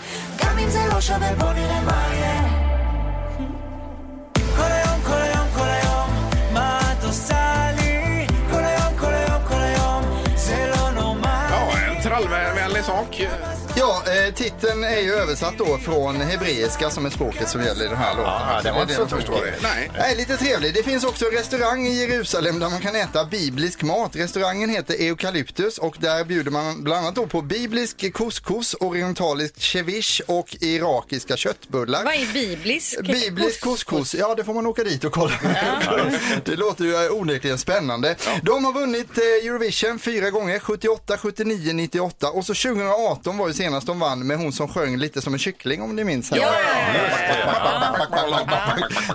Speaker 15: גם אם זה לא שווה בוא נראה מה יהיה כל היום, כל היום, כל היום מה את עושה לי? כל היום, כל היום, כל היום זה לא
Speaker 1: Ja,
Speaker 15: נורמלי
Speaker 1: en trallvänlig sak.
Speaker 9: Ja, eh, titeln är ju översatt då från hebreiska som är språket som gäller i den här låten.
Speaker 6: Ja, det var inte
Speaker 9: är
Speaker 6: så
Speaker 9: de
Speaker 6: tråkigt.
Speaker 9: tänker.
Speaker 6: Nej.
Speaker 9: Nej, lite trevlig. Det finns också en restaurang i Jerusalem där man kan äta biblisk mat. Restaurangen heter Eukalyptus och där bjuder man bland annat då på biblisk couscous, orientalisk ceviche och irakiska köttbullar.
Speaker 16: Vad är biblisk?
Speaker 9: Biblisk couscous, ja det får man åka dit och kolla. det låter ju eh, onekligen spännande. De har vunnit eh, Eurovision fyra gånger, 78, 79, 98 och så 2018 var ju senast de vann med hon som sjöng lite som en kyckling om ni minns. henne.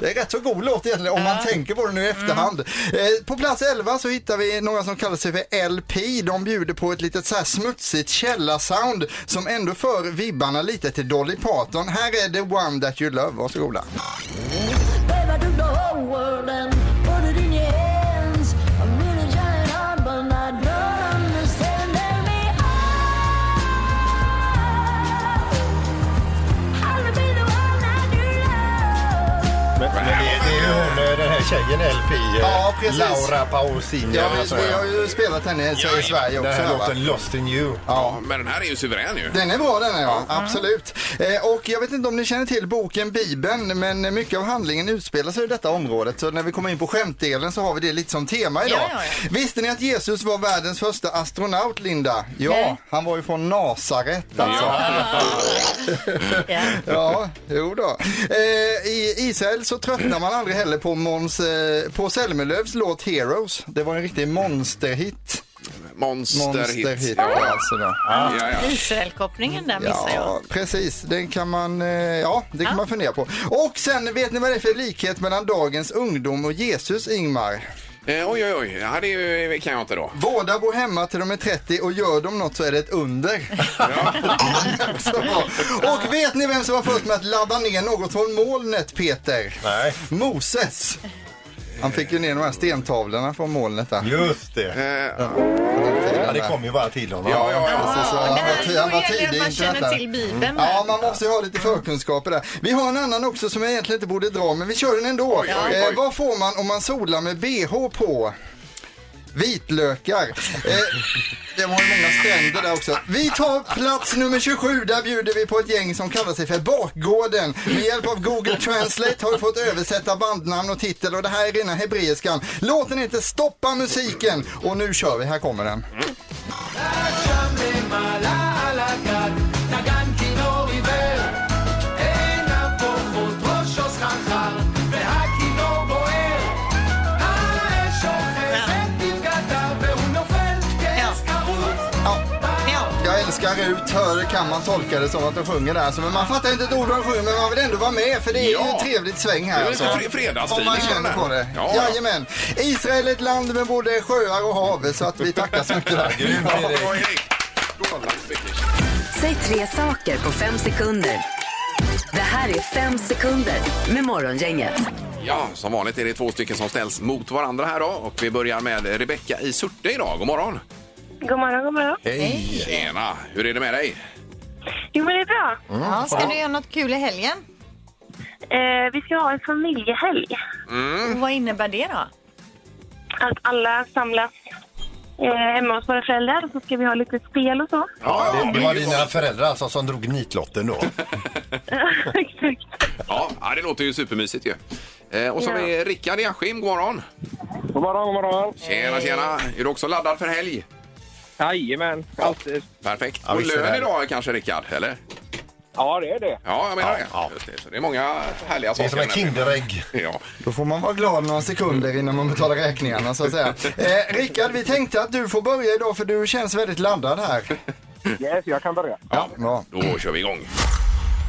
Speaker 9: Det är rätt så god låt egentligen om man tänker på den nu i efterhand. Eh, På plats 11 så hittar vi några som kallar sig för LP. De bjuder på ett litet så här smutsigt källarsound som ändå för vibbarna lite till Dolly Parton. Här är The One That You Love, varsågoda.
Speaker 15: Babe, I took the whole world and put it in your hands. I'm really trying hard, but I don't understand. Tell me how, how to be the one that you
Speaker 6: Men, men det, det är ju hon, eh, den här tjejen LP, eh,
Speaker 9: Ja, precis.
Speaker 6: Laura Pausini.
Speaker 9: Ja, vi, vi har ju spelat henne i i Sverige också.
Speaker 6: Den här
Speaker 9: här, va?
Speaker 6: låten Lost in you.
Speaker 1: Ja, men den här är ju suverän ju.
Speaker 9: Den är bra den är, ja. Absolut. Eh, och jag vet inte om ni känner till boken Bibeln, men mycket av handlingen utspelar sig i detta området. Så när vi kommer in på skämtdelen så har vi det lite som tema idag.
Speaker 15: Ja, ja,
Speaker 9: Visste ni att Jesus var världens första astronaut, Linda? Ja,
Speaker 15: Nej.
Speaker 9: han var ju från Nasaret alltså. Ja, jo då. Eh, I Israel så tröttnar man aldrig heller på Måns eh, på Zelmerlöws låt Heroes. Det var en riktig monsterhit.
Speaker 1: Monsterhit.
Speaker 9: Monsterhit,
Speaker 1: Ja.
Speaker 9: ja. alltså då.
Speaker 3: Israelkopplingen där missar jag.
Speaker 9: Ja, precis. Den kan man, eh, ja, det kan man fundera på. Och sen, vet ni vad det är för likhet mellan dagens ungdom och Jesus, Ingmar?
Speaker 1: Eh, oj, oj, oj. Ja, det är ju, kan jag inte då.
Speaker 9: Båda bor hemma till de är 30 och gör de något så är det ett under. Så bra. och vet ni vem som var först med att ladda ner något från molnet, Peter? Nej. Moses. Han fick ju ner de här stentavlorna från molnet där. Just
Speaker 1: Eh,
Speaker 9: det.
Speaker 6: Ja, det kom ju bara till honom.
Speaker 9: Ja, ja, ja. Precis, ja. Han var, ti- han var
Speaker 3: Då gäller det att
Speaker 9: tidig i
Speaker 3: man känner
Speaker 9: internet där. Mm.
Speaker 3: till Bibeln.
Speaker 9: Ja, man måste ju ha lite förkunskaper där. Vi har en annan också som jag egentligen inte borde dra, men vi kör den ändå.
Speaker 15: Oj, oj, oj.
Speaker 9: Eh, vad får man om man solar med bh på? Vitlökar. Eh, det var ju många stränder där också. Vi tar plats nummer 27. Där bjuder vi på ett gäng som kallar sig för Bakgården. Med hjälp av Google Translate har vi fått översätta bandnamn och titel och det här är rena hebreiskan. Låten heter Stoppa musiken och nu kör vi. Här kommer den.
Speaker 15: שם למעלה על הגג, נגן כינור עיוור. עיניו בוכות, ראשו סחרחר, והכינור בוער. האש אוחזת בבגדיו, והוא נופל כעסקרות.
Speaker 9: Jag älskar Rut, hör kan man tolka det som att de sjunger där. Så, men man fattar inte ett ord de sjunger men man vill ändå vara med för det är ju
Speaker 1: Ja.
Speaker 9: ett trevligt sväng här. alltså.
Speaker 1: Det är lite fre- fredagstidning
Speaker 9: Om man
Speaker 1: på den
Speaker 9: känner
Speaker 1: här.
Speaker 9: på det.
Speaker 1: Ja.
Speaker 9: Jajamän. Israel är ett land med både sjöar och hav så att vi tackar så mycket där.
Speaker 4: Säg tre saker på fem sekunder. Det här är fem sekunder med Morgongänget.
Speaker 1: Ja, som vanligt är det två stycken som ställs mot varandra här då. Och vi börjar med Rebecka i Surte idag. God morgon!
Speaker 17: God morgon, god morgon.
Speaker 1: Tjena! Hur är det med dig?
Speaker 17: Jo, men det är bra.
Speaker 16: bra.
Speaker 9: Mm.
Speaker 3: Ja, ska du göra något kul i helgen?
Speaker 16: Eh, vi ska ha en familjehelg.
Speaker 9: Mm.
Speaker 3: Och Vad innebär det då?
Speaker 16: Att alla samlas eh, hemma hos våra föräldrar och så ska vi ha lite spel och så.
Speaker 6: Ja, det, det var dina föräldrar alltså som drog nitlotten då.
Speaker 1: Ja, ja, det låter ju supermysigt ju. Eh, och så har
Speaker 16: Ja.
Speaker 1: vi Rickard i Askim. God morgon! God morgon, god morgon! Tjena, tjena! Är du också laddad för helg? Jajamän,
Speaker 17: Eh,
Speaker 1: alltid. Perfekt.
Speaker 17: Ja,
Speaker 1: och
Speaker 17: visst är
Speaker 1: lön
Speaker 17: det.
Speaker 1: idag kanske, Rickard? Eller?
Speaker 17: Ja, det är det.
Speaker 1: Ja, jag menar det. Just det. Så det är många härliga
Speaker 9: Det är
Speaker 1: saker.
Speaker 9: som ett
Speaker 6: Kinderägg.
Speaker 1: ja.
Speaker 9: Då får man vara glad några sekunder innan man betalar räkningarna så att säga. Eh, Rickard, vi tänkte att du får börja idag för du känns väldigt laddad här.
Speaker 17: Yes, jag kan börja.
Speaker 9: Ja, bra.
Speaker 1: Då kör vi igång.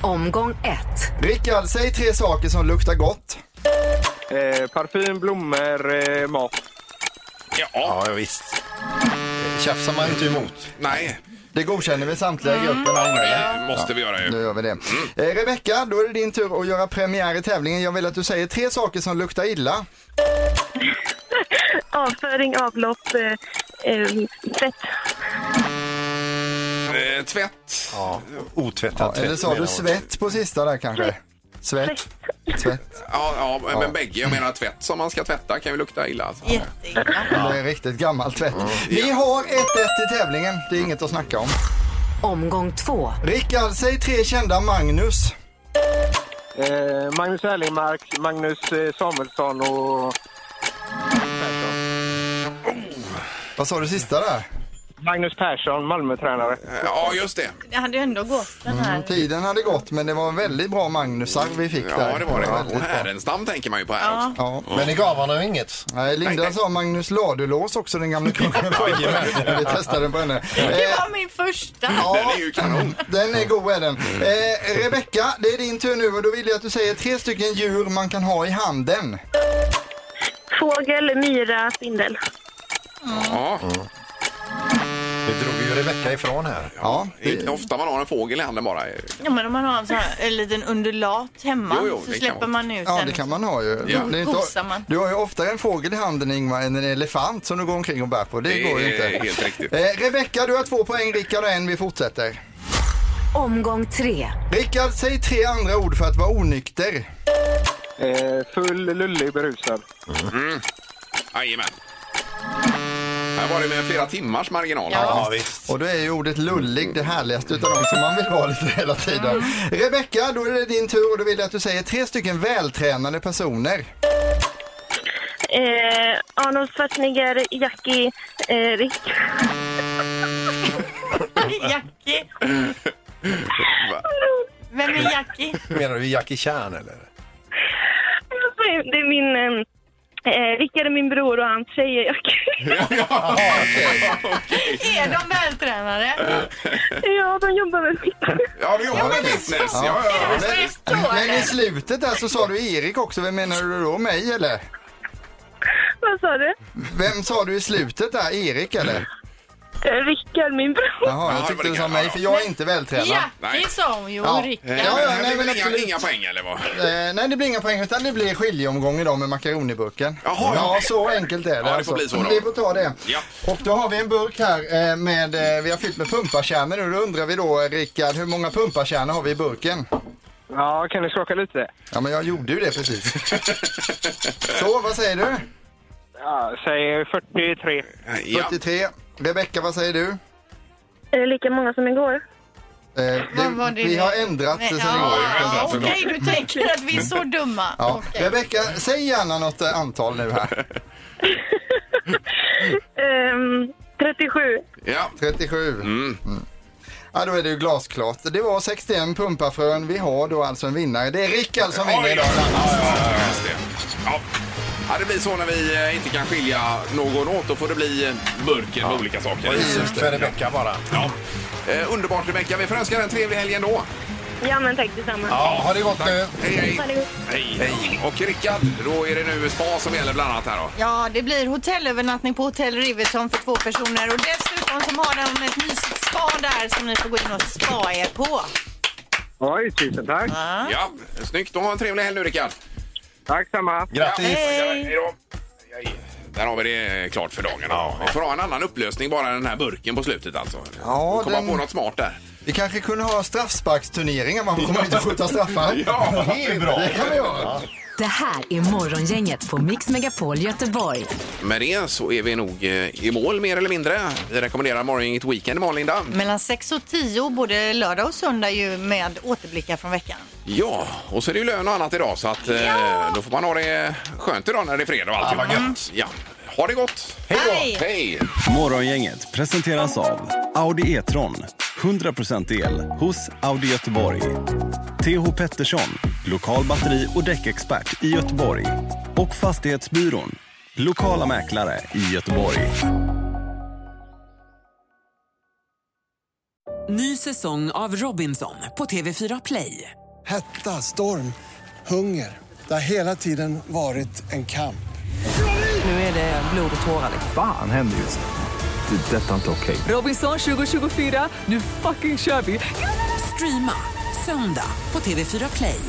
Speaker 9: Omgång ett. Rickard, säg tre saker som luktar gott.
Speaker 17: Eh, parfym, blommor, eh, mat.
Speaker 1: Ja,
Speaker 6: ja visst. Tjafsar man inte emot.
Speaker 1: Nej.
Speaker 9: Det godkänner vi samtliga i gruppen. här inne.
Speaker 1: Det måste vi göra ju.
Speaker 9: Då gör vi Mm. det. Eh, Rebecka, då är det din tur att göra premiär i tävlingen. Jag vill att du säger tre saker som luktar illa.
Speaker 16: Avföring, avlopp, eh, eh, tvätt.
Speaker 1: Eh, tvätt.
Speaker 6: Ja, otvättad tvätt.
Speaker 9: Eller sa
Speaker 6: menar
Speaker 9: du
Speaker 6: hon.
Speaker 9: svett på sista där kanske? Svett. Tvätt.
Speaker 1: Ja, ja, men bägge. Jag menar tvätt som man ska tvätta kan ju lukta illa. Alltså.
Speaker 9: Det är riktigt gammalt tvätt. Vi har 1-1 i tävlingen. Det är inget att snacka om. Omgång två. Rickard, säg tre kända Magnus.
Speaker 17: Eh, Magnus Erlingmark, Magnus eh, Samuelsson och
Speaker 9: Vad sa du sista där?
Speaker 17: Magnus Persson, Malmötränare.
Speaker 1: Ja, just det.
Speaker 3: Det hade ju ändå gått den här.
Speaker 9: Tiden hade gått, men det var en väldigt bra Magnusar vi fick där.
Speaker 1: Ja, det var det. Och
Speaker 9: väldigt bra.
Speaker 1: Härenstam tänker man ju på här
Speaker 3: Ja.
Speaker 1: också.
Speaker 9: Ja.
Speaker 6: Men ni gav honom inget?
Speaker 9: Nej, Linda sa Magnus Ladulås också, den gamla kungen. vi testade den på henne.
Speaker 3: Det
Speaker 9: Eh,
Speaker 3: var min första.
Speaker 1: ju kanon.
Speaker 9: Den är god är den. Eh, Rebecka, det är din tur nu och då vill jag att du säger tre stycken djur man kan ha i handen.
Speaker 16: Fågel, myra, spindel.
Speaker 1: Ja.
Speaker 6: Det drog ju Rebecka ifrån här.
Speaker 9: Ja,
Speaker 1: det är inte ofta man har en fågel i handen bara.
Speaker 3: Ja, men om man har en, sån här, en liten undulat hemma
Speaker 1: Jo, jo,
Speaker 3: så
Speaker 1: det kan
Speaker 3: släpper
Speaker 1: man.
Speaker 3: man ut
Speaker 9: Ja,
Speaker 3: den.
Speaker 9: det kan man ha ju.
Speaker 1: Ja.
Speaker 9: Det är
Speaker 3: Gosar man.
Speaker 9: du har ju oftare en fågel i handen Ingmar än en elefant som du går omkring och bär på. Det,
Speaker 1: Det
Speaker 9: går ju
Speaker 1: är
Speaker 9: inte.
Speaker 1: helt riktigt.
Speaker 9: Eh, Rebecka, du har två poäng. Rickard och en. Vi fortsätter.
Speaker 4: Omgång tre.
Speaker 9: Rickard, säg tre andra ord för att vara onykter.
Speaker 17: Eh, full, lullig, berusad.
Speaker 1: Jajamän. Här var det med flera timmars marginal.
Speaker 9: Och då är ju ordet lullig det härligaste utav dem som man vill vara lite hela tiden. Rebecka, då är det din tur och då vill jag att du säger tre stycken vältränade personer.
Speaker 16: Eh, Arnold Schwarzenegger, Jackie, eh, Rick.
Speaker 3: Jackie.
Speaker 1: Va?
Speaker 3: Vem är Jackie?
Speaker 6: Menar du Jackie Chan eller?
Speaker 16: Det är min... eh, Eh, Rickard är min bror och hans tjej är Jackie.
Speaker 3: Är de vältränade?
Speaker 16: ja, de jobbar med mitt.
Speaker 1: Ja, du jobbar med business. Ja, ja, ja.
Speaker 9: Men, men i slutet där så sa du Erik också. Vem menar du då? Mig eller?
Speaker 16: Vad sa du?
Speaker 9: Vem sa du i slutet där? Erik eller?
Speaker 16: Eh, Rickard, min bror.
Speaker 9: Jaha, jag tyckte du sa mig för jag är inte vältränad.
Speaker 3: Jackie sa hon ju
Speaker 9: Ja.
Speaker 3: och Rickard.
Speaker 9: Ja, ja, nej, men
Speaker 1: men inga,
Speaker 9: absolut.
Speaker 1: inga poäng eller vad?
Speaker 9: Eh, nej, det blir inga poäng utan det blir skiljeomgång idag med makaroniburken.
Speaker 1: Jaha, ja.
Speaker 9: ja, så enkelt är det. alltså.
Speaker 1: Ja, det får bli så då.
Speaker 9: Vi får ta det.
Speaker 1: Ja.
Speaker 9: Och då har vi en burk här eh, med, eh, vi har fyllt med pumpakärnor nu. Då undrar vi då, eh, Rickard, hur många pumpakärnor har vi i burken?
Speaker 17: Ja, kan du skaka lite?
Speaker 9: Ja, men jag gjorde ju det precis. så, vad säger du?
Speaker 17: Ja, säg 43.
Speaker 9: 43. Rebecka, vad säger du?
Speaker 16: Är det lika många som igår?
Speaker 9: Eh, det, vi har ändrat det sen igår.
Speaker 3: Ja, Okej, du tänker att vi är så dumma.
Speaker 9: Ja. Rebecka, säg gärna något eh, antal nu här.
Speaker 16: Ehm, 37.
Speaker 1: Ja.
Speaker 9: 37. Mm. Ja, då är det ju glasklart. Det var 61 pumpafrön. Vi har då alltså en vinnare. Det är Rickard som vinner idag.
Speaker 1: Ja, just det. Ja. Ja, det blir så när vi eh, inte kan skilja någon åt. Då får det bli eh, burken med olika saker.
Speaker 6: Just för Rebecka bara.
Speaker 1: Ja. Eh, underbart Rebecka. Vi får önska dig en trevlig helg ändå.
Speaker 16: Ja, men tack detsamma.
Speaker 6: Ja, ha det eh, gott
Speaker 1: Tack.
Speaker 6: nu.
Speaker 1: Hej, hej. Hej. hej. Och Rickard, då är det nu spa som gäller bland annat här då.
Speaker 3: Ja, det blir hotellövernattning på Hotell Riverton för två personer och dessutom som har de ett mysigt spa där som ni får gå in och spa er på.
Speaker 17: Oj, tusen tack.
Speaker 1: Ja, snyggt. Då ha en trevlig helg nu Rickard.
Speaker 17: Tack samma.
Speaker 1: Grattis.
Speaker 3: Hej.
Speaker 1: Hej då. Hej. Där har vi det eh, klart för dagen. Vi får ha en annan upplösning bara än den här burken på slutet alltså.
Speaker 9: Ja,
Speaker 1: Komma
Speaker 9: den-
Speaker 1: på något smart där.
Speaker 9: Vi kanske kunde ha straffsparksturneringar, man kommer inte att skjuta straffar.
Speaker 4: Ja,
Speaker 9: det är bra. Det kan vi göra.
Speaker 4: Det här är Morgongänget på Mix Megapol Göteborg.
Speaker 1: Med det så är vi nog eh, i mål mer eller mindre. Vi rekommenderar Morgongänget Weekend imorgon, Linda.
Speaker 3: Mellan 6 och 10 både lördag och söndag ju med återblickar från veckan.
Speaker 1: Ja, och så är det ju lön och annat idag så att eh, då får man ha det skönt idag när det är fredag och allt. Ja, ja. Ha det gott! Hej då! Hej!
Speaker 18: Morgongänget presenteras av Audi E-tron. 100% el hos Audi Göteborg. TH Pettersson, lokal batteri och däckexpert i Göteborg. Och Fastighetsbyrån, lokala mäklare i Göteborg.
Speaker 8: Ny säsong av Robinson på TV4 Play.
Speaker 19: Hetta, storm, hunger. Det har hela tiden varit en kamp.
Speaker 8: Nu är det blod och tårar. liksom.
Speaker 20: Fan händer just det. Det är detta inte okej.
Speaker 8: Robinson 2024, nu fucking kör vi! Streama söndag på TV4 Play.